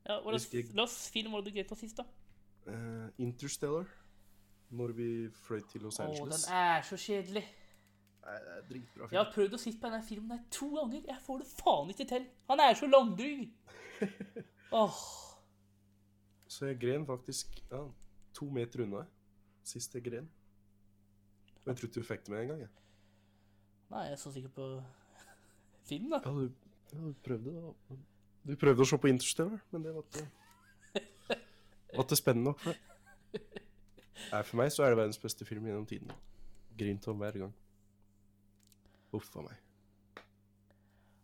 B: ja hva slags
A: Husker jeg-
B: hva slags film var det du grep av sist, da?
A: Eh, Interstellar. Når vi fløy til Los
B: Å,
A: Angeles.
B: den er så kjedelig.
A: Nei, det er en dritbra
B: Jeg
A: film.
B: har prøvd å sitte på denne filmen her to ganger. Jeg får det faen ikke til. Han er så langdryg. Åh.
A: Så jeg gren faktisk ja, to meter unna sist jeg gren. Og jeg tror ikke du fikk det med en gang. Jeg.
B: Nei, jeg er så sikker på film, da.
A: Ja, du, ja, du prøvde da. men- Du prøvde å se på Interstellar, men det var ikke Var ikke spennende nok for deg. Nei, for meg så er det verdens beste film gjennom tiden. Grint om hver gang. Uff a meg.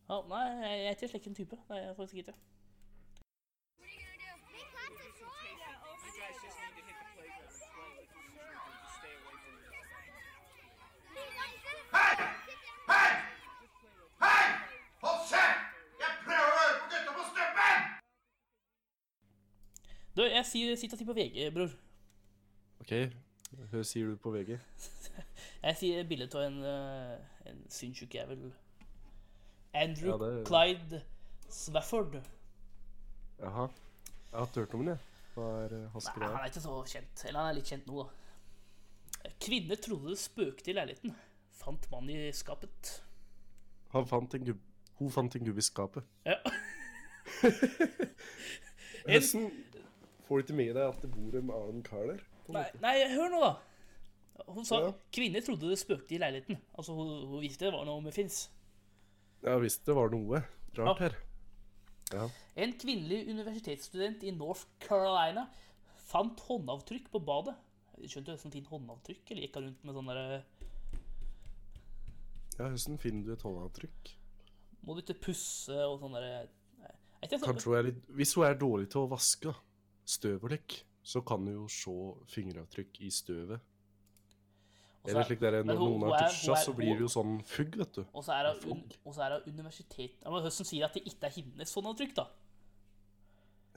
B: Ja, nei, jeg er ikke slik en type. Nei, jeg er faktisk ikke.
D: What are you gonna do? Make lots of noise. You guys just need to hit the playground and play with the children and just stay away from them.
E: Hei! Hei! Hold kjeft! Jeg prøver å høre på gutta på stubben!
B: Du, jeg sier, sitter og sier på VG, bror.
A: OK, hva sier du på VG?
B: Jeg sier bilde av en, eh, en sinnssyk jævel. Andrew
A: Ja, det-
B: Clyde Swafford.
A: Jaha. Jeg har ikke hørt om den, jeg. Hva er eh, Hasker
B: Nei, han er ikke så kjent. Eller han er litt kjent nå, da. Kvinner trodde det spøkte i leiligheten. Fant mann i skapet.
A: Han fant en gubb... Hun fant en gubbe i skapet.
B: Ja. En-
A: Hvordan får du ikke med deg at det bor en annen kar der?
B: Nei, nei, hør nå, da. Hun sa
A: Ja.
B: kvinner trodde det spøkte i leiligheten. Altså, hun, hun visste det var noe muffins.
A: Ja visst det var noe
B: Ah.
A: rart her.
B: En kvinnelig universitetsstudent i North Carolina fant håndavtrykk på badet. Jeg skjønte hvordan fint håndavtrykk, eller gikk han rundt med sånn derre
A: Ja, Hvordan finner du et håndavtrykk?
B: Må du ikke pusse og sånn derre Nei, jeg vet ikke,
A: Kanskje hun er litt Hvis hun er dårlig til å vaske, da, støv og lekk, så kan hun jo se fingeravtrykk i støvet.
B: Og så
A: Eller
B: er-
A: slik der,
B: men
A: når
B: hun-
A: noen
B: hun
A: har
B: er-
A: dusja,
B: hun er-
A: så blir det jo sånn fugg, vet du.
B: Og så er hun
A: Flunk.
B: og så er hun universitet... Ja, men Høsten sier at det ikke er hennes håndavtrykk, da.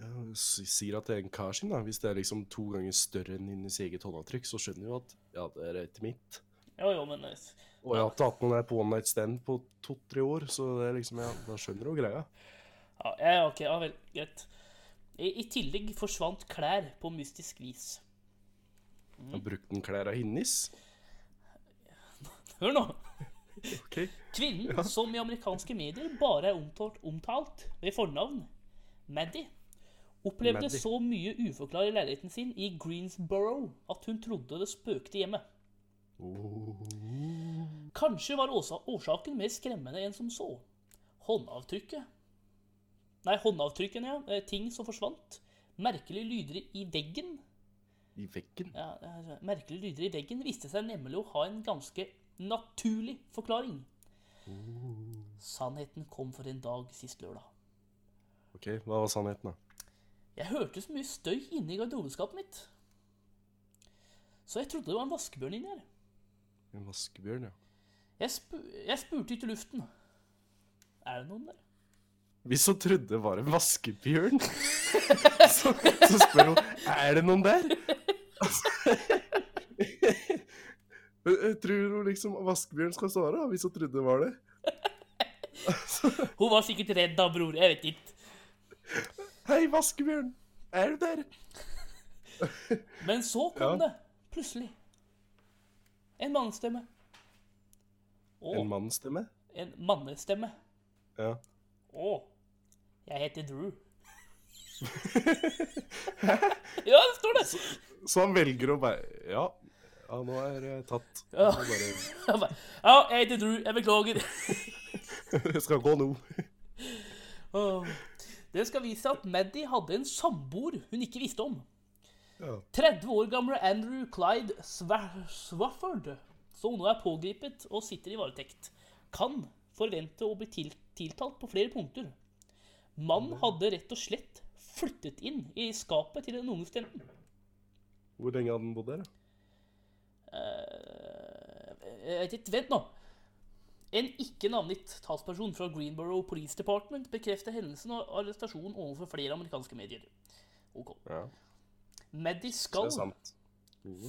A: Ja, s- sier at det er en kar sin, da. Hvis det er liksom to ganger større enn hennes eget håndavtrykk, så skjønner hun jo at ja, det er ikke mitt.
B: Jo, jo, men eh,
A: Og jeg har ikke hatt noen der på one night stand på to-tre år, så det er liksom, ja, da skjønner hun greia.
B: Ja, ja, ok, ja vel, greit. I, I tillegg forsvant klær på mystisk vis.
A: Jeg brukte den klær av hennes.
B: Hør nå!
A: Ok.
B: Kvinnen som i amerikanske medier bare er omtalt, omtalt ved fornavn, Maddy, opplevde
A: Maddie.
B: så mye uforklarlig i leiligheten sin i Greensboro at hun trodde det spøkte hjemme.
A: Oh,
B: Kanskje var åsa- årsaken mer skremmende enn som så. Håndavtrykket. Nei, håndavtrykkene, ja. Eh, Ting som forsvant. Merkelige lyder i veggen.
A: I veggen.
B: Ja, eh, merkelige lyder i veggen viste seg nemlig å ha en ganske naturlig forklaring.
A: Uh.
B: Sannheten kom for en dag sist lørdag.
A: Ok, hva var sannheten, da?
B: Jeg hørte så mye støy inne i garderobeskapet mitt. Så jeg trodde det var en vaskebjørn inni her.
A: En vaskebjørn, ja.
B: Jeg, spu jeg spurte ut i luften. Er det noen der?
A: Hvis hun trodde det var en vaskebjørn, så, så spør hun er det noen der. Men jeg tror hun liksom vaskebjørn skal svare, da, hvis hun trodde det var det.
B: Hun var sikkert redd da, bror. Jeg vet ikke.
A: Hei, vaskebjørn! Er du der?
B: Men så kom
A: Ja.
B: det, plutselig, en mannestemme. Og
A: En mannsstemme?
B: en mannestemme.
A: Ja.
B: Å, jeg heter Drew. ja, det står det!
A: Så han velger å bare Ja, ja nå er jeg tatt.
B: Ja.
A: Jeg, bare,
B: Han bare, Ja, jeg heter Drew. Jeg beklager.
A: jeg skal gå nå.
B: Åh. Det skal vise seg at Maddy hadde en samboer hun ikke visste om.
A: Ja.
B: 30 år gamle Andrew Clyde Swa- Swafford, som nå er pågrepet og sitter i varetekt, kan forvente å bli til tiltalt på flere punkter. Mannen hadde rett og slett flyttet inn i skapet til den unge studenten.
A: Hvor lenge hadde han bodd der? da?
B: Eh, Vent vent nå. En ikke navngitt talsperson fra Greenboro Police Department bekrefter hendelsen og arrestasjonen overfor flere amerikanske medier. Ok.
A: Ja,
B: Maddy
A: det
B: skal,
A: er sant.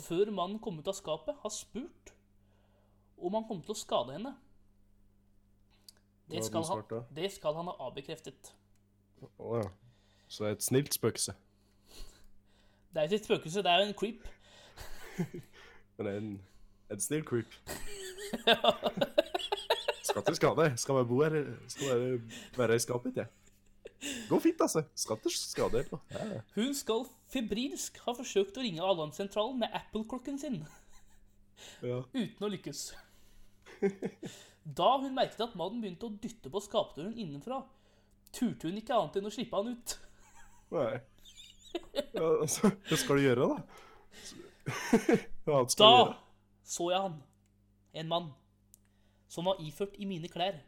B: før mannen kom ut av skapet, ha spurt om han kom til å skade henne.
A: Hva
B: Det
A: hadde han
B: skal, han,
A: svart da?
B: det skal han ha avbekreftet.
A: Å ja. Så det er et snilt spøkelse.
B: Det er jo ikke et spøkelse, det er jo en creep.
A: Men det er en, en snill creep. Skal til skade. Skal bare bo her. Skal bare være i skapet, jeg. Går fint, altså. Skal til skade. eller noe. Ja, ja.
B: Hun skal febrilsk ha forsøkt å ringe alarmsentralen med Apple-klokken sin.
A: Ja.
B: uten å lykkes. Da hun merket at mannen begynte å dytte på skapdøren innenfra, turte hun ikke annet enn å slippe han ut.
A: Nei. Ja, altså, hva skal du gjøre, da? Hva annet skal
B: Da
A: du gjøre?
B: så jeg han, en mann, som var iført i mine klær.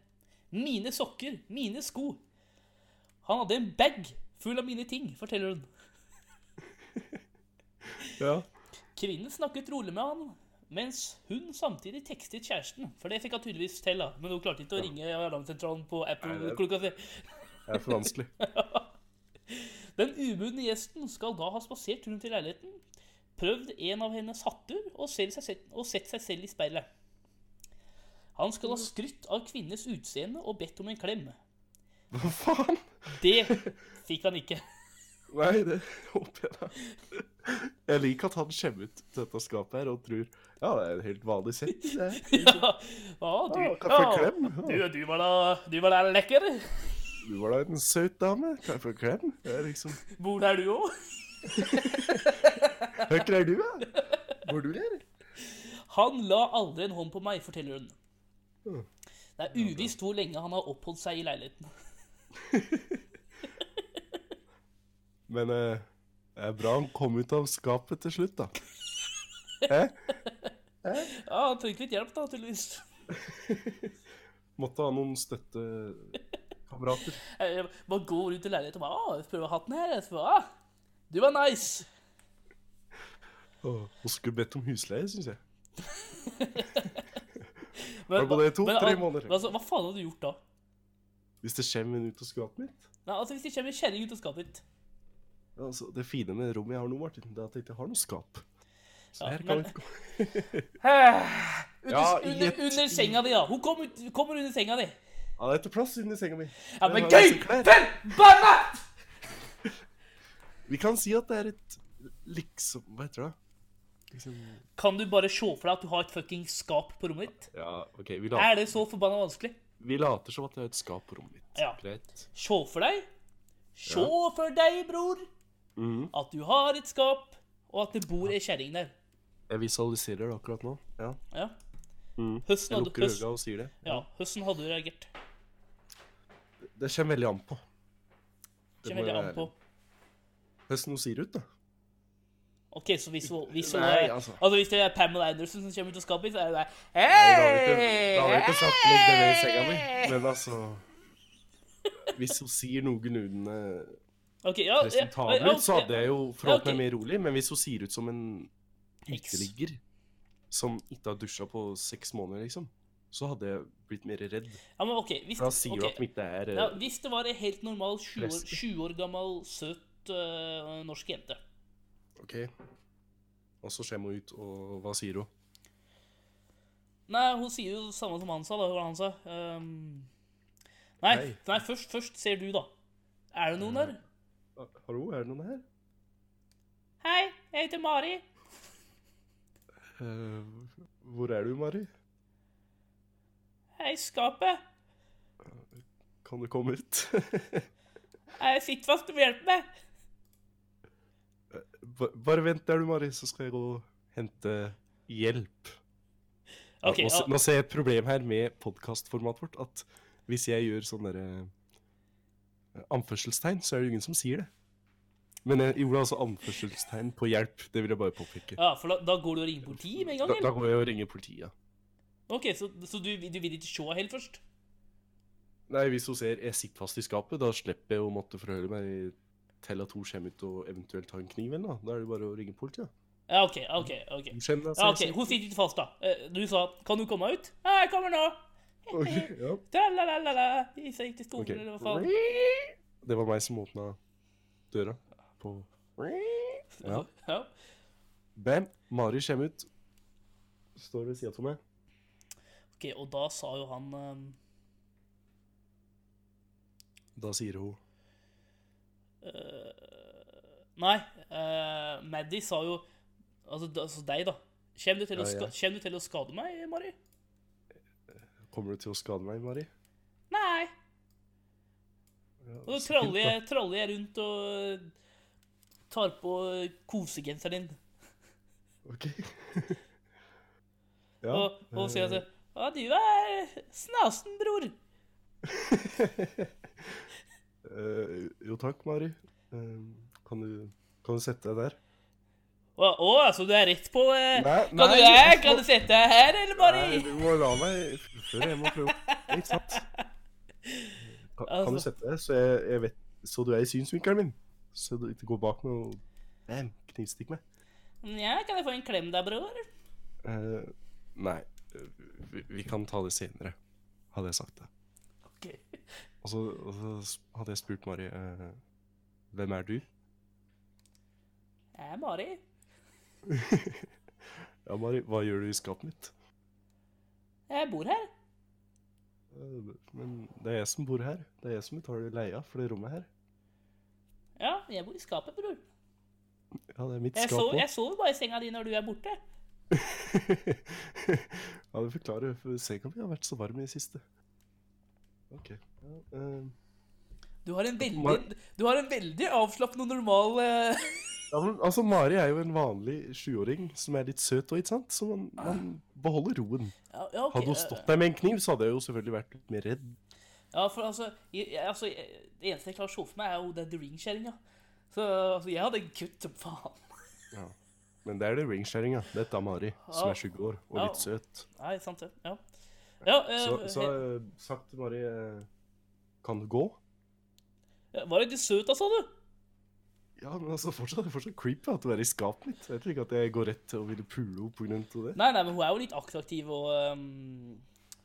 B: Mine sokker, mine sko. Han hadde en bag full av mine ting, forteller hun.
A: Ja.
B: Kvinnen snakket rolig med han, mens hun samtidig tekstet kjæresten. For det fikk hun tydeligvis til, da. Men hun klarte ikke å ringe alarmsentralen på
A: Nei,
B: Apple
A: det-
B: klokka tre.
A: Det er for vanskelig.
B: Den umodne gjesten skal da ha spasert rundt i leiligheten, prøvd en av hennes hatter og, selv seg selv, og sett seg selv i speilet. Han skal ha skrytt av kvinnenes utseende og bedt om en klem.
A: Hva faen?
B: Det fikk han ikke.
A: Nei, det håper jeg da. Jeg liker at han kommer ut til dette skapet her og tror Ja, det er en helt vanlig sett. det her.
B: Ja, ja, du,
A: Ja, kan jeg få en
B: ja,
A: klem?
B: du,
A: Ja.
B: du var da, du var da lekker.
A: Du var da en søt dame. Kan jeg få en klem? Det er liksom
B: Bor der du òg?
A: Hva greier du, da? Bor du der?
B: Han la aldri en hånd på meg, forteller hun.
A: Mm.
B: Det er uvisst hvor lenge han har oppholdt seg i leiligheten.
A: Men eh, det er bra han kom ut av skapet til slutt, da. Eh?
B: Ja, Han trengte litt hjelp, da, tydeligvis.
A: Måtte ha noen støttekamerater.
B: Jeg jeg bare går rundt i leiligheten og bare Å, jeg prøver hatten her. Jeg spør, ah, du var nice.
A: Åh, Og skulle bedt om husleie, syns jeg. Var
B: Men,
A: det både to,
B: men,
A: tre
B: al-
A: måneder?
B: men Altså, hva faen hadde du gjort da?
A: Hvis det kommer en ut av skapet mitt.
B: Nei, altså, Hvis det kommer en kjerring ut av skapet ditt
A: Ja, Altså, det fine med rommet jeg har nå, Martin, det er at jeg ikke har noe skap. Så
B: Ja,
A: her kan
B: men-
A: jeg gå-
B: Ah, under,
A: Ja,
B: under,
A: gjett.
B: under senga di, da. Hun kom ut, kommer under senga di.
A: Ja, det er ikke plass inni senga mi.
B: Ja,
A: Jeg
B: men
A: har
B: gøy!
A: masse klær.
B: Forbanna!
A: Vi kan si at det er et liksom Hva heter det? Liksom
B: Kan du bare se for deg at du har et fucking skap på rommet ditt?
A: Ja, OK, vi,
B: Er
A: later,
B: det så forbanna vanskelig?
A: vi later som at det er et skap på rommet mitt.
B: Ja.
A: Greit.
B: Se for deg. Se for deg, bror,
A: Mhm.
B: at du har et skap, og at det bor ei kjerring der.
A: Jeg visualiserer det akkurat nå. Ja.
B: Ja.
A: Mhm.
B: Høsten
A: Jeg
B: hadde,
A: lukker
B: høst,
A: øynene og sier det.
B: ja, høsten hadde du reagert.
A: Det kommer veldig an på Det må
B: Kommer veldig
A: jeg
B: an
A: være
B: på.
A: hvordan hun ser ut, da.
B: OK, så hvis, hun- hvis, hun
A: Nei,
B: er-
A: altså.
B: altså, hvis det er Pamela Anderson som kommer ut av skapet ditt, så er det deg.
A: Nei, da hadde jeg ikke- da hadde jeg ikke sagt legg deg ned i senga mi. Men altså Hvis hun sier noenlunde
B: Ok, ja, ja,
A: presentabel
B: ja,
A: ut, så hadde jeg jo forholdt
B: ok.
A: meg mer rolig. Men hvis hun ser ut som en uteligger som ikke har dusja på seks måneder, liksom, så hadde jeg blitt mer redd.
B: Ja, men ok, hvis,
A: For da sier hun
B: ok.
A: at de ikke er
B: ja,
A: eh,
B: hvis det var ei helt normal 20 år,
A: Prest.
B: 20 år gammel, søt øh, norsk jente
A: OK. Og så kommer hun ut, og hva sier hun?
B: Nei, hun sier jo det samme som han sa, da. Hva han sa. Ehm, nei,
A: Nei. Mm.
B: nei først, først ser du, da. Er det noen der?
A: Hallo, er det noen her?
B: Hei, jeg heter Mari.
A: Eh, hvor er du, Mari?
B: Hei, skapet.
A: Kan du komme ut?
B: Jeg sitter fast, du må hjelpe meg.
A: Ba- Bare vent der, du, Mari, så skal jeg gå og hente hjelp. Ja,
B: Ok,
A: nå,
B: ja,
A: se- nå ser jeg et problem her med podkastformatet vårt. At hvis jeg gjør sånn derre eh, Anførselstegn, så er det ingen som sier det. Men jeg gjorde altså anførselstegn på hjelp. Det vil jeg bare påpeke.
B: ja, for da, da går du og ringer politiet med en gang,
A: Da, da
B: eller?
A: går jeg og ringer politiet.
B: Ok, Så, så du, du vil ikke se helt først?
A: Nei, hvis hun ser jeg sitter fast i skapet, da slipper jeg å måtte forhøre meg til at hun kommer ut og eventuelt har en kniv eller noe. Da er det bare å ringe politiet. da.
B: Ja, OK. ok, ok.
A: Hun kommer,
B: Ja,
A: da,
B: ok,
A: sier jeg.
B: Hun sitter ikke fast, da. Eh, Du sa 'Kan du komme ut?' 'Ja, jeg kommer nå'.
A: Ok, ja.
B: Tra-la-la-la-la. Vi gikk til skolen,
A: Ok.
B: eller hva faen.
A: Det var meg som åpna døra på Ja.
B: Ja.
A: Bam! Mari kommer ut. Står ved sida av meg.
B: Ok, og da sa jo han ehm,
A: Da sier hun
B: Nei, eh, Maddie sa jo Altså, da- altså deg, da. Kjem du, til å
A: Ja,
B: ska
A: ja.
B: kjem du til å skade meg, Mari?
A: Kommer du til å skade meg, Mari?
B: Nei.
A: Ja,
B: Og så
A: så fint,
B: traller jeg, traller jeg rundt og tar på kosegenseren din.
A: da. OK. ja.
B: Og, og sier altså-
A: eh,
B: at Ja, du er snasen, bror.
A: eh, Jo takk, Mari. Eh, kan, du, kan du sette deg der?
B: Å, å, altså du er rett på eh,
A: Nei,
B: Kan
A: nei,
B: du her?
A: jeg
B: Kan
A: må-
B: du sette deg her, eller,
A: Nei,
B: Mari?
A: du må la meg fullføre. Jeg må prøve. Ikke sant? Kan, kan
B: Altså.
A: du sette deg, så jeg, jeg vet Så du er i synsvinkelen min? Så du ikke går bak meg og bam, knivstikk meg?
B: Nja, «Mm, kan jeg få en klem der, bror?
A: Eh, nei. Vi, vi kan ta det senere, hadde jeg sagt det.
B: Ok.
A: Og så, og så s- hadde jeg spurt Mari eh, Hvem er du?
B: Jeg er Mari.
A: Ja, Mari, hva gjør du i skapet mitt?
B: Jeg bor her.
A: «Eh, Men det er jeg som bor her. Det er jeg som betaler leia for det rommet her.
B: Ja, jeg bor i skapet, bror.
A: Ja, det er mitt
B: Jeg, sov,
A: skap
B: jeg sover bare i senga di når du er borte.
A: òg. ja, det forklarer for senga mi har vært så varm i det siste. OK. Ja, eh,
B: Du har en
A: Mar-
B: veldig, du har en veldig avslappende og normal eh,
A: Altså, altså, Mari er jo en vanlig sjuåring som er litt søt og ikke sant? Så man, man beholder roen.
B: Ja, ja, ok,
A: Hadde hun
B: eh,
A: stått der med en kniv, så hadde jeg jo selvfølgelig vært litt mer redd.
B: Ja, for altså, jeg, jeg- altså jeg, Det eneste jeg klarer å se for meg, er jo den ringkjerringa. Så altså, jeg hadde kutt som faen.
A: Ja. Men det er det ringsharinga. Dette er Mari, som
B: Ja.
A: er 20 år og
B: Ja.
A: litt søt.
B: Nei, sant det. Ja. ja Ah. eh,
A: Så, så eh, sagt til Mari eh, Kan du gå?
B: he- Var jeg litt søt, da, sa du?
A: Ja, men altså, fortsatt, det er fortsatt creepy at du er i skapet mitt. Jeg tror ikke at jeg går rett til å ville pule henne på grunn av det.
B: Nei, nei, men hun er jo litt attraktiv og ehm,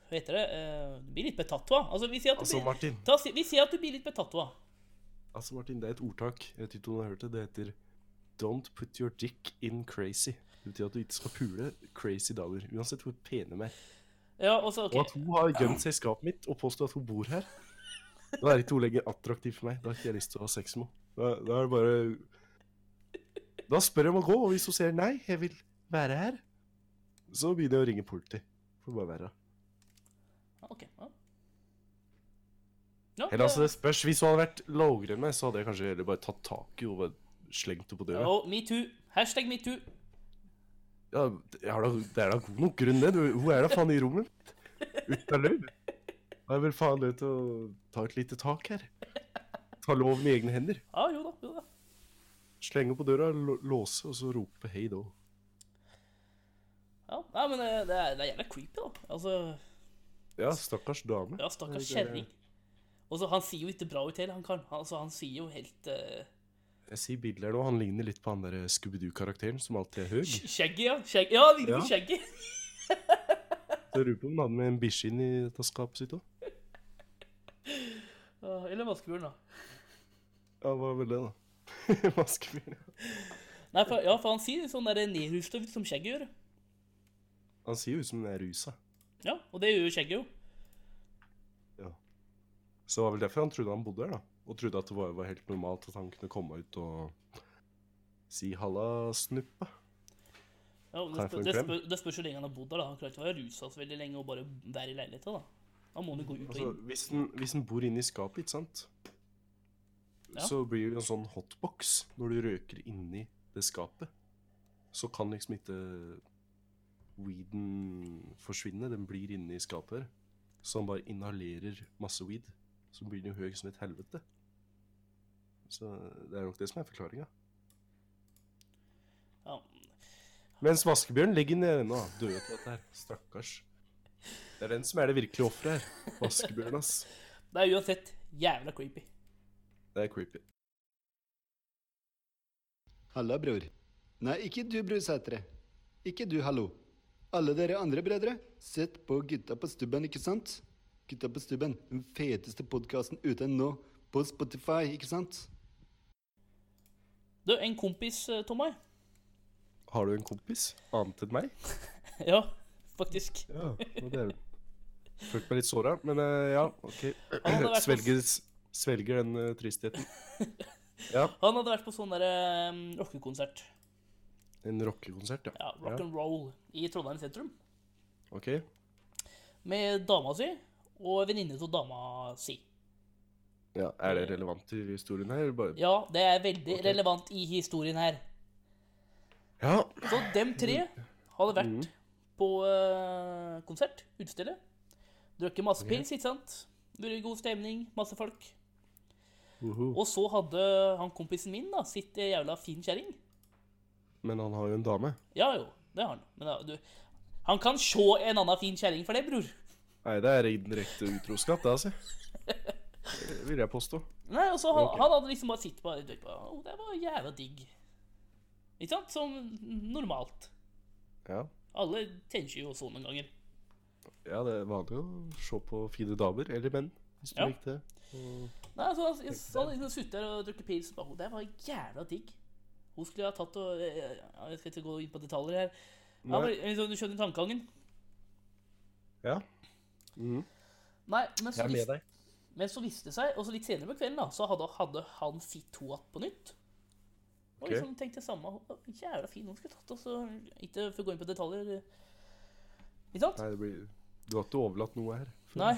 B: Hva heter det? Eh, du blir litt betatua. Altså, vi sier at du
A: Altså,
B: blir,
A: Martin,
B: ta, si- vi sier at du blir litt betatua.
A: altså, Martin, det er et ordtak. Jeg vet ikke om du har hørt det. Det heter Don't put your dick in crazy. Det betyr at du ikke skal pule crazy damer, uansett hvor pene de er.
B: Ja, og så,
A: Og at
B: ok.
A: hun har gjemt seg i skapet mitt og påstår at hun bor her. Da er ikke hun lenger attraktiv for meg. Da har ikke jeg lyst til å ha sex med henne. Da, da er det bare Da spør jeg om å gå, og hvis hun sier nei, jeg vil være her, så begynner jeg å ringe politi. Får bare være.
B: Ja, ok, ja. Ja,
A: Eller altså, det spørs. Hvis hun hadde vært lavere enn meg, så hadde jeg kanskje heller bare tatt tak i henne og bare slengt henne på
B: ja,
A: døra.
B: og metoo. Hashtag metoo.
A: Ja, jeg har da, det er da god nok grunn, det. Du- Hun er da faen i rommet mitt. Uten av lur. Da er vel faen nødt til å ta et lite tak her. Ta loven i egne hender.
B: Ja, jo da. jo da.
A: Slenge på døra, lå- låse, og så rope hei da.
B: Ja, nei, men eh, det er, det er jævla creepy, da. Altså,
A: Ja, stakkars dame.
B: Ja, stakkars
A: Det er-
B: kjerring. Og så Han sier jo ikke bra ut heller. Han, kan, altså, han sier jo helt eh,
A: Jeg sier bilder nå, han ligner litt på han der eh, Scooby-Doo-karakteren som alltid er høy.
B: sk-
A: Så
B: Skjegget, ja. Skjegg, ja, han ligner på
A: Ja.
B: skjegget.
A: jeg lurer på om han hadde med en bikkje inn i dette skapet sitt òg.
B: Ja, Eller vaskebjørn, da.
A: Ja, hva var vel det, da? Maskefyr.
B: Nei, for, ja, for han sier jo sånn der nedrusta ut som skjegget gjør.
A: Han sier jo ut som han er rusa.
B: Ja, Og det gjør jo skjegget, jo.
A: Så det var vel derfor han trodde han bodde her, da. Og trodde at det var, var helt normalt at han kunne komme ut og si 'halla, snuppa'.
B: Ja, og
A: Kan
B: det,
A: jeg få
B: spør,
A: en
B: det,
A: klem?
B: spør, det spørs hvor lenge han har bodd der. da. Han klarer ikke å være rusa så veldig lenge og bare være i leiligheta. Da Da må han jo gå ut og
A: Altså,
B: inn.
A: hvis den, hvis den bor inne i skapet, ikke sant,
B: Ja.
A: så blir det jo en sånn hotbox når du røker inni det skapet. Så kan liksom ikke weeden forsvinne. Den blir inne i skapet her. Så han bare inhalerer masse weed. Så blir den jo høy som et helvete. Så det er nok det som er forklaringa.
B: Ja.
A: Mens vaskebjørn ligger nede ennå, døde til dette her. Stakkars. Det er den som er det virkelige offeret her. Vaskebjørn, ass.
B: Det er uansett jævla creepy.
A: Det er creepy.
F: Halla, bror. Nei, ikke du, bror Sætre. Ikke du, hallo. Alle dere andre brødre, sett på Gutta på stubben, ikke sant? Gutta på stubben, den feteste podkasten ute nå, på Spotify, ikke sant?
B: Du, en kompis eh, av meg
A: Har du en kompis annet enn meg?
B: Ja, faktisk.
A: Ja, og det er vel Følte meg litt såra, men eh, ja, OK.
B: Han hadde vært på-
A: Svelger, svelger den eh, tristheten. Ja,
B: Han hadde vært på sånn derre um, rockekonsert.
A: en rockekonsert, ja.
B: Ja, rock and roll i Trondheim sentrum.
A: OK.
B: med dama si og venninne til dama si.
A: Ja, er det relevant til historien her? eller Bare...
B: Ja, det er veldig
A: Ok.
B: relevant i historien her.
A: Ja.
B: Så dem tre hadde vært på eh, konsert, utested. Drukket masse pils, ikke sant? Vært i god stemning, masse folk.
A: uhu.
B: Og så hadde han kompisen min da, sitt eh, jævla fin kjerring.
A: Men han har jo en dame.
B: Ja jo, det har han. Men da, du, han kan se en annen fin kjerring for det, bror.
A: Nei, det er indirekte utroskap, det, altså. Det vil jeg påstå.
B: Nei, og så han,
A: Ok.
B: han hadde liksom bare sittet på og bare, Å, det var jævla digg. Ikke sant? Som normalt.
A: Ja.
B: Alle tenker jo sånn noen ganger.
A: ja, det er vanlig å se på fine damer, eller menn, hvis du
B: Ja.
A: likte det.
B: Nei, så han, jeg, han liksom suttet der og drukket pils. og bare, «Å, Det var jævla digg. Hun skulle ha tatt og eh, ja, Jeg skal ikke gå inn på detaljer her. Ja,
A: Nei.
B: men, liksom, du skjønner tankegangen?
A: Ja. Mhm.
B: Nei, men så,
A: Jeg er med
B: visste,
A: deg.
B: men så viste det seg, og så litt senere på kvelden, da, så hadde, hadde han sitt ho igjen på nytt. Og
A: Ok.
B: liksom tenkte jeg samme «Å, Jævla fin hun skulle tatt, og så Ikke for å gå inn på detaljer. eh. Ikke sant?
A: Nei, det blir... Du har ikke overlatt noe her.
B: Nei.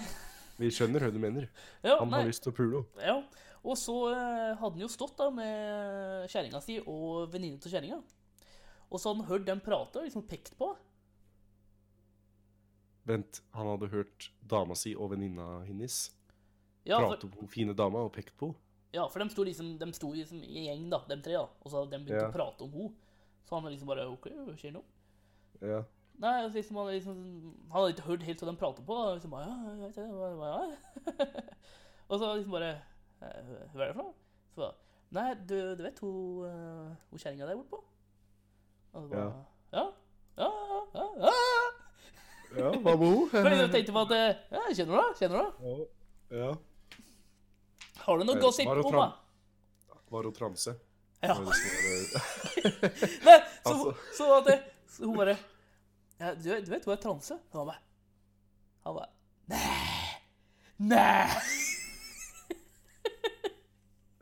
A: Vi skjønner hva du mener.
B: Ja,
A: Han
B: nei.
A: har lyst til å pule henne.
B: Ja. Og Og så eh, hadde han jo stått da med kjerringa si og venninna til kjerringa. Og så hadde han hørt dem prate og liksom pekt på.
A: Vent, han hadde hørt dama si og venninna hennes
B: Ja, for,
A: prate om hvor fine dama og pekt på henne.
B: ja, for de sto liksom, de sto liksom i gjeng, da, de tre. da. Og så hadde de begynt
A: Ja.
B: å prate om henne. Så han var liksom bare OK, hva skjer nå?
A: Ja.
B: Nei, altså, liksom, han, liksom, han hadde ikke hørt helt hva de pratet på. Da. Liksom, bare, ja, jeg vet det, hva, hva, ja. og så liksom bare eh, Hva er det for noe? Så bare, Nei, du, du vet hun, eh, hun kjerringa der bortpå? Og så bare Ja. Ja, ja, ja, ja.
A: ja, hva med
B: Fordi du tenkte på at eh, ja, Kjenner du det? Kjenner du det?
A: Ja.
B: Har du noe
A: Eh,
B: gossip
A: var det
B: om
A: Trump?
B: henne?
A: Var hun transe?
B: Ja.
A: Var det liksom som var-
B: Nei, så,
A: Altså.
B: så at det, så hun bare ja, du, vet- du vet hun er transe? Og han bare Han bare Nei! Nei!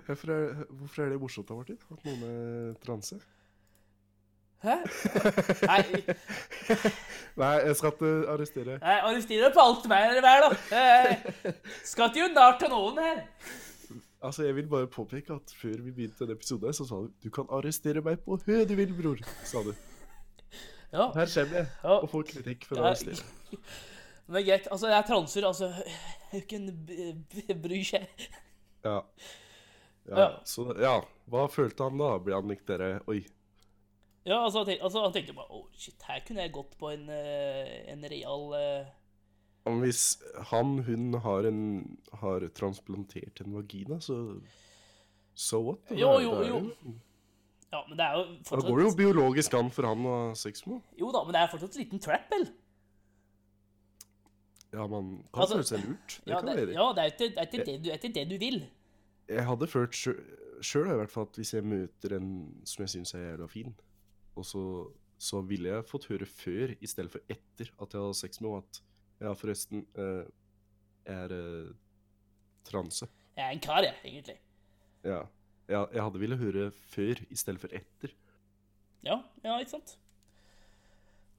A: Hvorfor er, hvorfor er det morsomt, da, Martin? At noen er transe?
B: Hæ? Nei,
A: Nei, jeg skal ikke arrestere.
B: Jeg arresterer på alt mer eller mer, da. Jeg skal ikke unna til noen her.
A: Altså, Jeg vil bare påpeke at før vi begynte denne episoden, så sa du du kan arrestere meg på hø du vil, bror. sa du.
B: Ja,
A: Her kommer jeg
B: ja.
A: og får kritikk for å
B: Ja.
A: arrestere.
B: Men det er greit. Altså, jeg er transer, altså. Hvem bryr seg?
A: Ja. Ja,
B: Ja.
A: Så, ja. Hva følte han da? Ble han likt dere? Oi.
B: Ja, altså, han tenkte, altså, han tenkte bare Å, shit, her kunne jeg gått på en, eh, en real eh,
A: Men Hvis han, hun, har, en, har transplantert en vagina, så So what? Da
B: Jo,
A: er-
B: jo,
A: da er
B: jo.
A: det
B: Ja, men det er jo
A: Da går det jo
B: fortsatt
A: biologisk an for han å ha sex med henne.
B: Jo da, men det er fortsatt en liten trap, vel?
A: Ja, man kan
B: Altså,
A: føle seg lurt. Det
B: Ja,
A: kan
B: det,
A: være.
B: ja, det er jo ikke, det er ikke, det, du, det er ikke det du vil.
A: Jeg hadde følt sjøl i hvert fall at hvis jeg møter en som jeg syns er jævla fin, og så, så ville jeg fått høre før i stedet for etter at jeg hadde sex med henne at ja, forresten, eh, jeg er eh, transe.
B: Jeg er en kar, jeg, egentlig.
A: Ja. ja. Jeg hadde ville høre før i stedet for etter.
B: Ja, ja, ikke sant?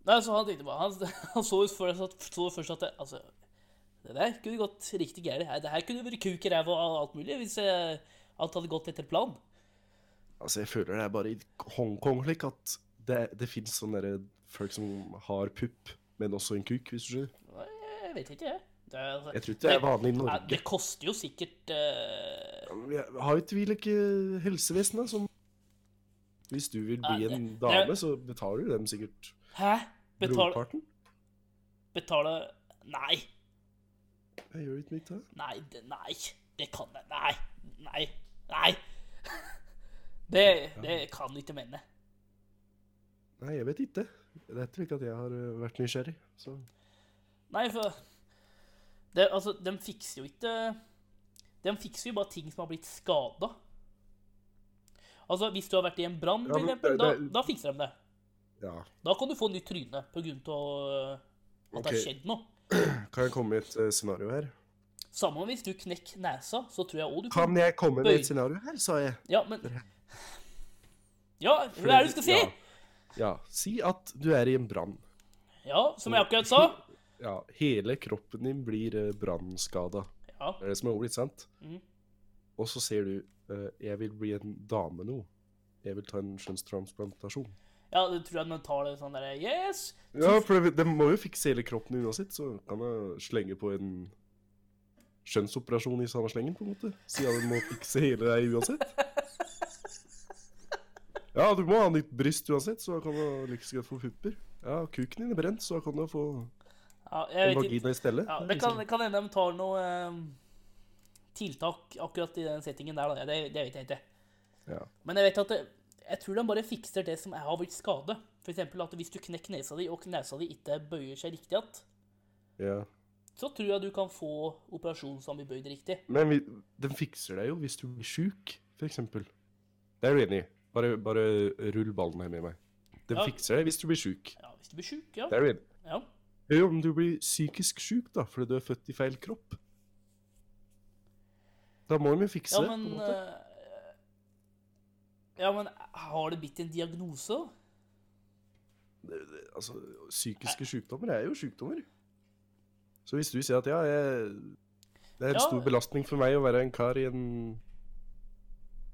B: Nei, så han tenkte bare Han, han så jo først at, så først at det, Altså, det der kunne gått riktig gærent. Her- Det her kunne vært kuk i ræva og alt mulig hvis eh, alt hadde gått etter planen.
A: Altså, jeg føler det er bare i Hongkong slik at det, det fins sånne der folk som har pupp, men også en kuk, hvis du skjønner.
B: Nei, Jeg vet ikke, jeg. Det, er- altså,
A: Jeg tror ikke det er vanlig i
B: Nei,
A: Norge.
B: det koster jo sikkert eh,
A: Jeg har jo tvil ikke helsevesenet som Hvis du vil bli
B: Nei,
A: en
B: det-
A: dame, så betaler du dem sikkert
B: Hæ? Betal,
A: brorparten.
B: betale Nei.
A: Jeg gjør ikke mye til det.
B: Nei, det, nei. Det kan jeg Nei. Nei. Nei. Det, det kan du ikke mene.
A: Nei, jeg vet ikke. Det er ikke at jeg har øh, vært nysgjerrig. Så
B: Nei, for det, Altså, de fikser jo ikke De fikser jo bare ting som har blitt skada. Altså, hvis du har vært i en brann,
A: Ja,
B: for
A: men
B: eksempel,
A: det-
B: da,
A: det-
B: da fikser de det.
A: ja.
B: Da kan du få nytt tryne på grunn av øh, at det har
A: Ok.
B: skjedd noe.
A: Kan jeg komme med et øh, scenario her?
B: Samme hvis du knekker nesa, så tror jeg òg du
A: Kan jeg komme med
B: Bøy.
A: et scenario her, sa jeg.
B: Ja, men Ja, hva er det du skal si?
A: Ja. ja. Si at du er i en brann.
B: Ja, som jeg akkurat sa.
A: Ja, hele kroppen din blir øh, brannskada.
B: Ja.
A: Det er det som er ordet, ikke sant?
B: Mhm.
A: Og så sier du eh, 'jeg vil bli en dame nå'. Jeg vil ta en skjønnstransplantasjon.
B: ja, du tror jeg de tar det sånn derre Yes!
A: Ja, for det, det må jo fikse hele kroppen din uansett, så kan jeg slenge på en skjønnsoperasjon i samme slengen, på en måte. Siden du må fikse hele deg uansett. Ja, du må ha nytt bryst uansett, så kan du like så godt få pupper. Ja, kuken din er brent, så da kan du få
B: Ja, jeg
A: en
B: vet ikke.
A: vagina i stedet.
B: Ja, det kan, det kan hende de tar noe ehm, tiltak akkurat i den settingen der, da. Det, det vet jeg ikke.
A: Ja.
B: Men jeg vet at det, jeg tror de bare fikser det som har blitt skade. For eksempel at hvis du knekker nesa di, og nesa di ikke bøyer seg riktig igjen,
A: Ja.
B: så tror jeg du kan få operasjon som blir bøyd riktig.
A: Men vi, den fikser deg jo hvis du blir sjuk, for eksempel. Det er du enig i. Bare, bare rull ballen her med meg. Den
B: Ja.
A: fikser deg hvis du blir sjuk.
B: Ja, hvis du blir sjuk, ja.
A: Det er du enig i.
B: ja.
A: Hør om du blir psykisk sjuk, da, fordi du er født i feil kropp. Da må de jo fikse
B: Ja,
A: det. på en
B: men
A: måte.
B: eh, Ja, men har det blitt en diagnose?
A: Altså, psykiske sykdommer er jo sykdommer. Så hvis du sier at ja, jeg, det er en
B: Ja.
A: stor belastning for meg å være en kar i en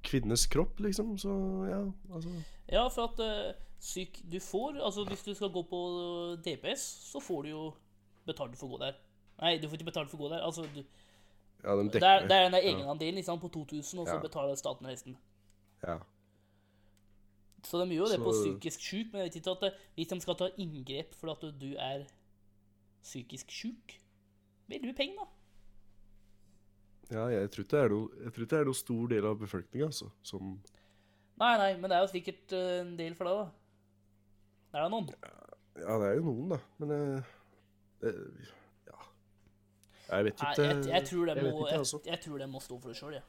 A: kvinnes kropp, liksom. Så ja, altså
B: Ja, for at eh, syk du får Altså, hvis du skal gå på eh, DPS, så får du jo betalt for å gå der. Nei, du får ikke betalt for å gå der. Altså, du,
A: Ja, de
B: det,
A: dekker
B: er, det
A: det.
B: er den der egenandelen ikke sant, på 2000, og så
A: Ja.
B: betaler staten resten.
A: Ja.
B: Så de gjør jo det på
A: Så-
B: psykisk syk, men jeg vet ikke at det, hvis de skal ta inngrep fordi at du er psykisk syk, vil du penger, da?
A: ja, jeg tror ikke det er noe, jeg tror ikke det er noe stor del av befolkninga altså, som
B: Nei, nei, men det er jo sikkert eh, en del for deg, da. Er det noen?
A: Ja, det er jo noen, da, men eh, det, Ja. Jeg vet
B: Nei,
A: ikke.
B: jeg, jeg, tror det
A: jeg vet
B: må,
A: ikke,
B: jeg,
A: altså.
B: jeg tror det må stå for det sjøl, jeg.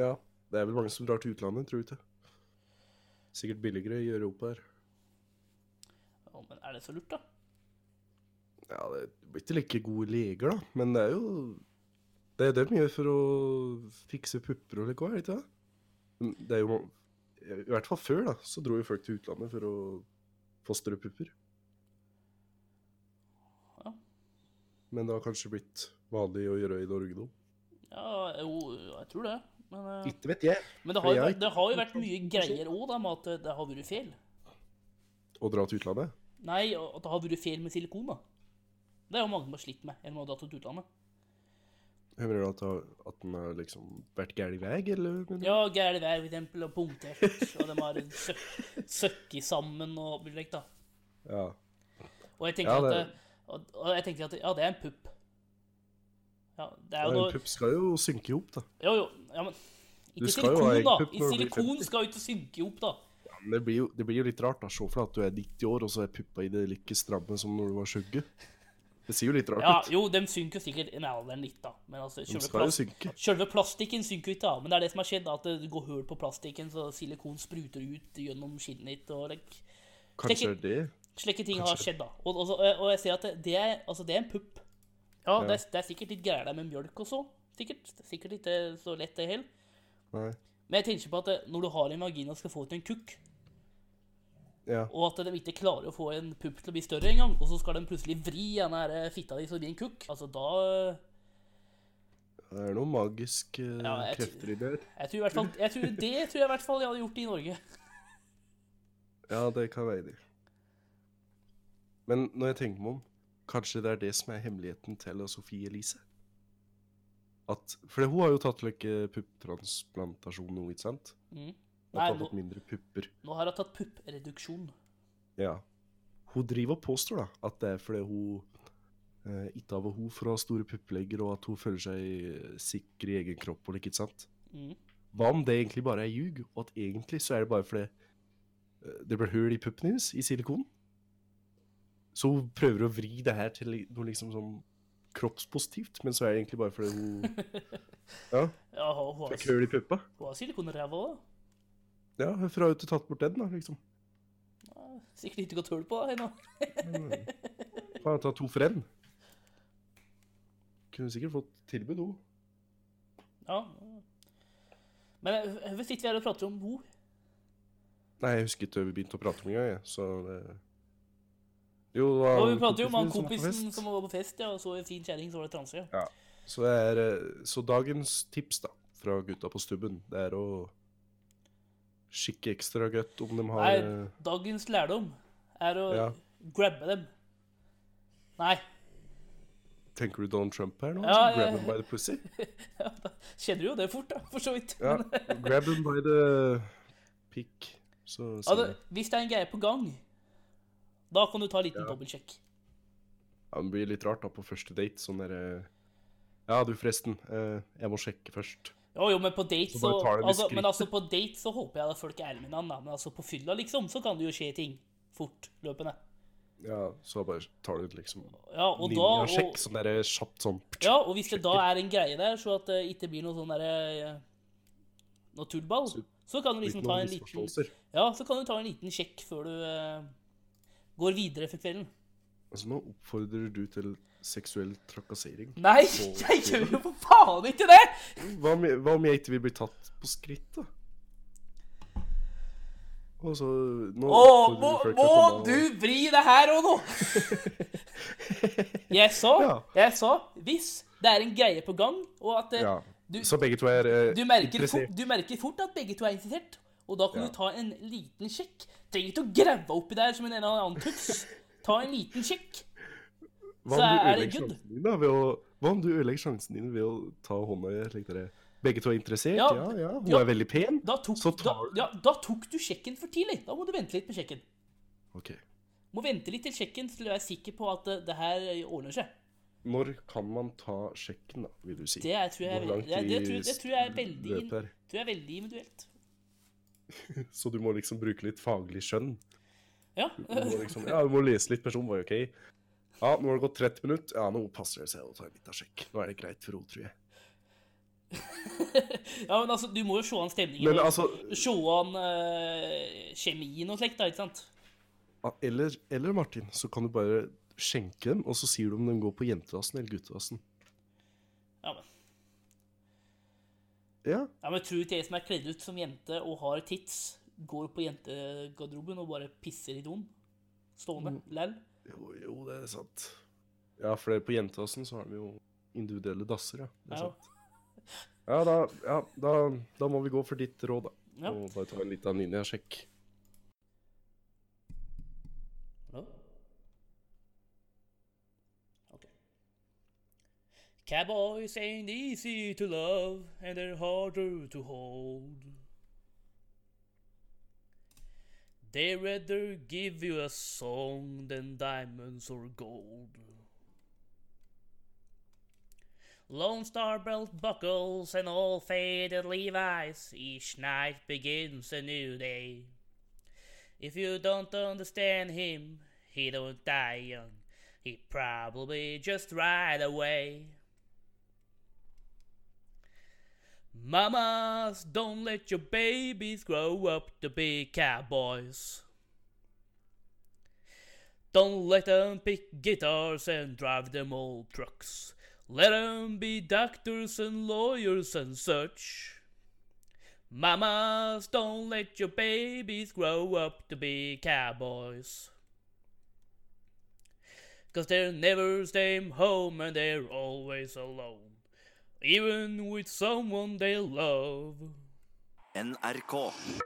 A: Ja, det er vel mange som drar til utlandet, tror du ikke? Sikkert billigere i Europa her.
B: Ja. Å, Men er det så lurt, da?
A: Ja, det blir ikke like gode leger, da, men det er jo Det er det de gjør for å fikse pupper og like hva, er det ikke det? Men Det er jo man- I hvert fall før, da, så dro jo folk til utlandet for å fostre pupper.
B: Ja.
A: Men det har kanskje blitt vanlig å gjøre i Norge nå?
B: Ja, jo, jeg tror det. Men, eh,
A: Ikke vet jeg.
B: men det, har jo,
A: jeg-
B: vært- det har jo vært mye greier òg, da, med at det- det har vært feil.
A: Å dra til utlandet?
B: Nei, og at det har vært feil med silikon, da. Det er jo mange som har slitt med, eller man har dratt til utlandet.
A: Jeg mener at, at den har liksom vært gæren vei, eller? mener du?
B: Ja, gæren vær, for eksempel, og punktert, og de har søk- søkket sammen og alt mulig, da.
A: ja.
B: Og jeg tenker,
A: Ja, det-
B: at, eh, og, og jeg tenker at ja, det er en pupp. Ja, det
A: Ja,
B: er jo
A: En
B: noe
A: pupp skal jo synke i hop, da.
B: Jo, jo. Ja, men
A: Du
B: ikke
A: skal jo ha
B: silikon,
A: en
B: da.
A: pupp
B: I
A: når du blir
B: silikon
A: 50.
B: skal jo ikke synke i hop, da.
A: Ja, men det blir, jo, det blir jo litt rart, da. Se for deg at du er 90 år, og så er puppa i det like stramme som når du var 20. Det ser jo litt rart
B: Ja,
A: ut.
B: jo, de synker jo sikkert i alderen litt, da. Men altså,
A: De
B: selve,
A: skal jo
B: plast
A: synke.
B: selve plastikken synker jo ikke, da. Men det er det som har skjedd, da, at det går hull på plastikken, så silikon spruter ut gjennom skinnet ditt. og like,
A: Kanskje det er det.
B: Slike ting har
A: Kanskje.
B: skjedd, da. Og, og, så- eh, og jeg ser at det, det, er, altså, det er en pupp. Ja,
A: Ja.
B: Det, er, det er sikkert litt greier der med mjølk og så. Sikkert, sikkert ikke så lett, det heller.
A: Nei.
B: Men jeg tenker på at eh, når du har en vagina og skal få ut en kukk,
A: Ja.
B: og at de ikke klarer å få en pupp til å bli større engang, og så skal de plutselig vri den her eh, fitta di så det blir en kukk, altså da
A: Det er noen magiske eh,
B: Ja, jeg tror-
A: krefter i det. her.
B: Jeg tror i hvert fall jeg tror, Det tror jeg i hvert fall jeg hadde gjort i Norge.
A: Ja, det kan være det. Men når jeg tenker meg om, kanskje det er det som er hemmeligheten til Sofie Elise? At, for hun har jo tatt like pupptransplantasjon nå, ikke sant?
B: Mm.
A: At hun
B: Nei,
A: har
B: nå,
A: fått mindre pupper.
B: nå har jeg tatt puppreduksjon.
A: Ja. Hun driver og påstår da, at det er fordi hun eh, ikke har behov for å ha store puppelegger, og at hun føler seg eh, sikker i egen kropp. og like, ikke sant?
B: Mm.
A: Hva om det egentlig bare er ljug, og at egentlig så er det bare fordi eh, det ble hull i puppen hennes, i silikon? Så hun prøver å vri det her til li- noe liksom sånn kroppspositivt, men så er det egentlig bare fordi hun Ja,
B: Ja, hun har,
A: fikk hull i puppa.
B: hun har silikonræva òg.
A: Ja, hvorfor har hun ikke tatt bort den, da, liksom?
B: Sikkert ikke gått hull på henne.
A: Kan eh, jeg ta to for en? Kunne sikkert fått tilbud, hun.
B: Ja. Men eh, hvorfor sitter vi her og prater om henne?
A: Nei, jeg husker ikke hva vi begynte å prate om engang, jeg. Så det... Jo, det var
B: Og vi
A: han
B: prater jo om han
A: som var på
B: kompisen
A: fest.
B: som var på fest, ja, og så en fin kjerring, så var det transe. Ja.
A: Så, det er, eh, så dagens tips, da, fra gutta på stubben, det er å skikke ekstra godt om de har
B: Nei,
A: eh,
B: dagens lærdom er å
A: Ja.
B: grabbe dem. Nei.
A: Tenker du Donald Trump her nå?
B: Ja,
A: altså?
B: ja,
A: grab
B: ja.
A: him by the pussy?
B: Ja, da kjenner du jo det fort, da, for så vidt.
A: Ja,
B: Men,
A: grab him by the pick. Så sier
B: altså,
A: jeg.
B: hvis det er en greie på gang, da kan du ta en liten dobbeltsjekk.
A: Ja, det blir litt rart da på første date, sånn derre Ja, du, forresten. eh, jeg må sjekke først.
B: Jo, jo, men på date
A: Så
B: så,
A: bare tar du det
B: altså, Men
A: skrittet.
B: altså, på date så håper jeg at folk er ærlige med hverandre, da. men altså, på fylla, liksom, så kan det jo skje ting fortløpende.
A: Ja, så bare tar du liksom
B: Ja, og da
A: linjasjekk,
B: og,
A: sånn derre kjapt sånn
B: ja, og hvis det da er en greie der, så at det ikke blir noe sånn derre eh, Noe tullball,
A: Så-
B: så kan du
A: Litt
B: liksom ta
A: noen
B: en liten
A: misforståelser.
B: Ja, så kan du ta en liten sjekk før du eh, går videre for kvelden.
A: Altså, nå oppfordrer du til seksuell trakassering.
B: Nei, jeg gjør jo for faen ikke det!
A: Hva om, jeg- hva om jeg ikke vil bli tatt på skritt, da? Og så Nå
B: Å, må,
A: oppfordrer du folk til
B: må
A: å komme og-
B: du vri det her òg nå? Jeg sa,
A: Ja.
B: jeg sa hvis det er en greie på gang, og at eh,
A: Ja.
B: Du,
A: Så begge to er eh,
B: du, merker fort,
A: interessert.
B: du merker fort at begge to er interessert, og da kan
A: Ja.
B: du ta en liten sjekk. Trenger ikke å grave oppi der som en eller annen tuts. Ta en liten sjekk.
A: Hva
B: så
A: om du
B: er det
A: ødelegger
B: good.
A: sjansen din da, ved å, hva om du ødelegger sjansen din ved å ta hånda i slik dere Begge to er interessert?
B: Ja,
A: Ja, ja. Hun
B: ja.
A: er veldig pen.
B: Da tok,
A: Så
B: da,
A: tar du-
B: ja, da tok du sjekken for tidlig. Da må du vente litt med sjekken.
A: Ok.
B: Må vente litt til sjekken til du er sikker på at eh, det her ordner seg.
A: Når kan man ta sjekken, da, vil du si?
B: Det er, tror jeg,
A: Hvor lang
B: det, det, tror, det tror jeg er
A: tid
B: veldig,
A: løpet er?
B: tror jeg er veldig individuelt.
A: Så du må liksom bruke litt faglig skjønn?
B: Ja.
A: Du må liksom, ja, du må lese litt person, var jo ok. Ja, nå har det gått 30 minutter. Ja, nå passer det seg å ta en liten sjekk. Nå er det greit for henne, tror jeg.
B: ja, men altså, du må jo se an stemningen.
A: Men
B: og-
A: altså,
B: Se an eh, kjemien og slikt, da, ikke sant?
A: ja, eller, eller Martin, så kan du bare skjenke dem, og så sier du om de går på jentedassen eller guttedassen.
B: Ja, men,
A: Ja,
B: ja, men tror du ikke jeg som er kledd ut som jente og har tits, går på jentegarderoben og bare pisser i doen? Stående? Læl?
A: jo, jo, det er sant. Ja, for det- på jentedassen så har de jo individuelle dasser, ja. Det er
B: Ja.
A: sant. Ja, da, ja da, da må vi gå for ditt råd, da.
B: Ja.
A: Og bare ta en liten linjesjekk.
B: Hallo? Ok. Cowboys ain't easy to love, and they're harder to hold. They rather give you a song than diamonds or gold. Lone Star belt buckles and all faded Levi's. Each night begins a new day. If you don't understand him, he don't die young. He probably just ride away. Mamas, don't let your babies grow up to be cowboys. Don't let them pick guitars and drive them old trucks. Let them be doctors and lawyers and such. Mamas, don't let your babies grow up to be cowboys. Cause they're never staying home and they're always alone. Even with someone they love.
G: NRK.